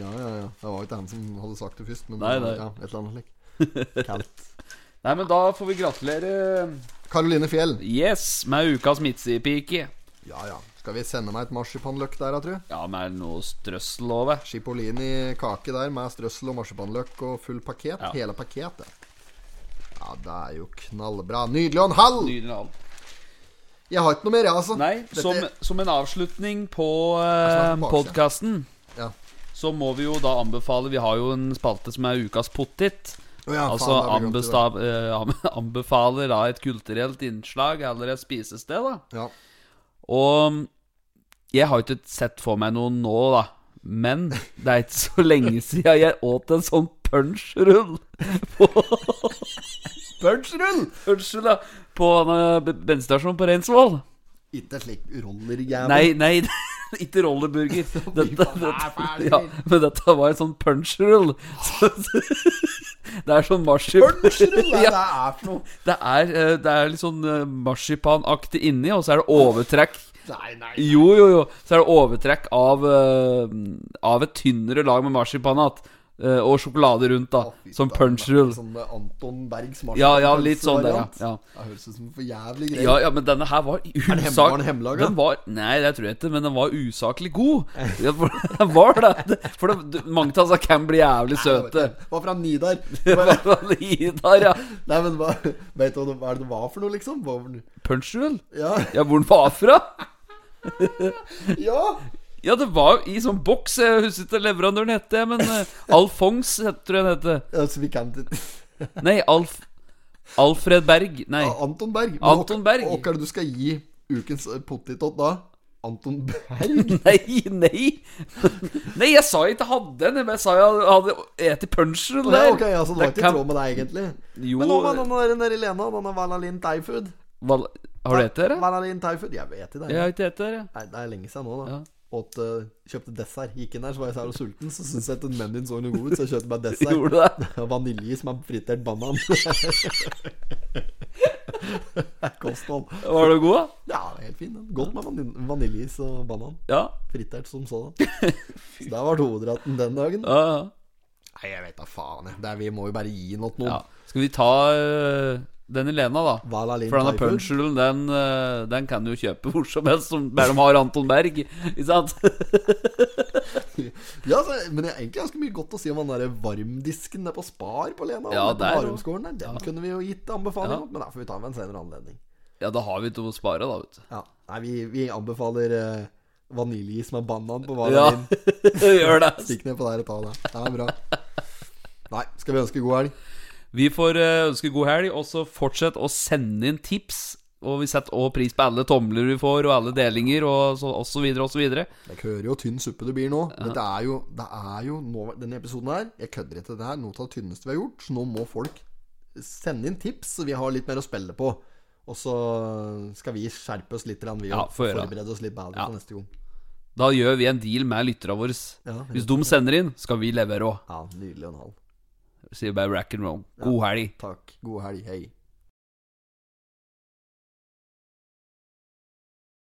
S1: ja, ja, ja. Det var jo ikke han som hadde sagt det først, men
S2: Nei, nei.
S1: Ja, et eller annet slik. Kalt.
S2: Nei, men da får vi gratulere
S1: Karoline Fjell.
S2: Yes med ukas midtsidepike.
S1: Ja, ja. Skal vi sende meg et marsipanløk der, da, tru?
S2: Ja, med noe strøssel over.
S1: Chipolini kake der med strøssel og marsipanløk og full pakket.
S2: Ja.
S1: Hele pakket, ja. Ja, det er jo knallbra. Nydelig og en halv!
S2: Nydelig navn.
S1: Jeg har ikke noe mer, jeg, altså.
S2: Nei,
S1: Dette-
S2: som, som en avslutning på
S1: Jeg
S2: eh,
S1: smakte bakse.
S2: podkasten
S1: Ja.
S2: så må vi jo da anbefale Vi har jo en spalte som er Ukas pottit.
S1: Å ja, faen,
S2: Altså
S1: da har vi glemt det
S2: anbesta- eh, am- anbefaler da et kulturelt innslag eller et spisested, da.
S1: der. Ja.
S2: Og jeg har ikke sett for meg noe nå, da. Men det er ikke så lenge siden jeg åt en sånn punchrull på Punchrull? Punchrull, ja. På en eh, b- bensinstasjon på Reinsvoll.
S1: Ikke slik rollerjævel.
S2: Nei, nei, ikke rollerburger. Dette, dette, ja, men dette var en sånn punchrull. Så- så- Det er sånn marsipan
S1: Unnskyld, hva
S2: Ja.
S1: er det er for noe?
S2: Det er, eh, det er litt sånn eh, marsipanaktig inni, og så er det overtrekk.
S1: Nei, nei.
S2: Jo, jo, jo. Så er det overtrekk av, eh, av et tynnere lag med marsipan att, eh, og sjokolade rundt, da.
S1: Å, fy
S2: Som
S1: faen,
S2: punchrull.
S1: Sånn eh, Anton Bergs
S2: Ja, ja, litt sånn der, ja.
S1: marsipanpølsevariant.
S2: ja.
S1: Det høres ut som en for jævlig greie.
S2: Ja, ja, men denne her var i
S1: den hem-
S2: usak-
S1: var den hemmelaga?
S2: Den var, nei, det tror jeg ikke, men den var usaklig god. Ja, for den var det. For det, du- mange av disse kan bli jævlig søte.
S1: Var fra Nidar.
S2: Det var i der, ja.
S1: Nei, men hva, vet du hva det- hva er det det var for noe, liksom? Hva var det?
S2: Punchrull?
S1: Ja,
S2: Ja, hvor den var fra?
S1: ja!
S2: Ja, det var i sånn boks. Jeg husker ikke leverandøren het det, men eh, Alfons het- tror jeg han het.
S1: ja så Altså, vi kan ikke
S2: Nei, Alf Alfred Berg. Nei.
S1: Ja, Anton Berg. Men
S2: Anton Berg.
S1: Hva hva er det du skal gi ukens eh, potetot da? Anton Berg?
S2: Nei, nei. Nei, jeg sa jeg ikke hadde en. Jeg bare sa jeg hadde spist punchrull
S1: Nei,
S2: der.
S1: ok, altså, det var ikke i
S2: kan-
S1: tråd med deg, egentlig.
S2: Jo,
S1: Men nå var den der nede i Lena, denne Valalin Thaifood.
S2: Val- Har du hett det? eller?
S1: Valalin Thaifood. Jeg vet i det.
S2: Jeg har ikke hett det. eller?
S1: Nei, det er lenge siden nå, da.
S2: Ja.
S1: Åt, eh, kjøpte dessert. Gikk inn der, så var jeg så jævla sulten, så syntes jeg at den menyen så noe god ut, så jeg kjøpte meg
S2: Gjorde
S1: dessert.
S2: du det?
S1: Vaniljeis med fritert banan. Kosthold.
S2: Var du god, da?
S1: Ja, helt fin. den. Godt med vanil- vaniljeis og banan.
S2: Ja.
S1: Fritert som sådan. Så det var hovedretten den dagen.
S2: ja, ja.
S1: Nei, jeg vet da faen, jeg. Det er, vi må jo bare gi noe til
S2: ja.
S1: noen.
S2: Skal vi ta eh, den Elena, da?
S1: Vala Lind
S2: For denne
S1: Thaifood.
S2: punchrullen, den, eh, den kan du jo kjøpe hvor som helst, som bare de har Anton Berg. Ikke sant?
S1: Ja, så, men det er egentlig ganske mye godt å si om den der varmdisken der på Spar på Lena.
S2: Ja,
S1: Ja, der,
S2: der, ja.
S1: Varumskolen der. Den kunne vi jo gitt anbefaling
S2: Ja.
S1: om, men da får vi ta med en senere anledning.
S2: Ja, da har vi ikke noe å spare, da, vet du.
S1: Ja. Nei, vi, vi anbefaler eh, vaniljeis med banan på Vala
S2: Ja,
S1: Lind.
S2: gjør det.
S1: Stikk ned på der og ta det. Det er bra. Nei, skal vi ønske god helg?
S2: Vi får eh, ønske god helg, og så fortsett å sende inn tips. Og vi setter også pris på alle tomler vi får, og alle delinger, og så, og så videre, og så videre.
S1: Jeg hører jo tynn suppe det blir nå. Dette er jo, det er jo nå, Denne episoden her, jeg kødder ikke, det er noe av det tynneste vi har gjort. Så nå må folk sende inn tips, så vi har litt mer å spille på. Og så skal vi skjerpe oss litt, grann, vi
S2: Ja,
S1: og
S2: få gjøre det.
S1: forberede oss litt bedre
S2: Ja.
S1: for neste gang.
S2: Da gjør vi en deal med lytterne våre.
S1: Ja,
S2: Hvis de sender inn, skal vi levere òg.
S1: Ja, nydelig og en halv.
S2: Sier bare rack and roll. God helg.
S1: Takk. God helg. Hei.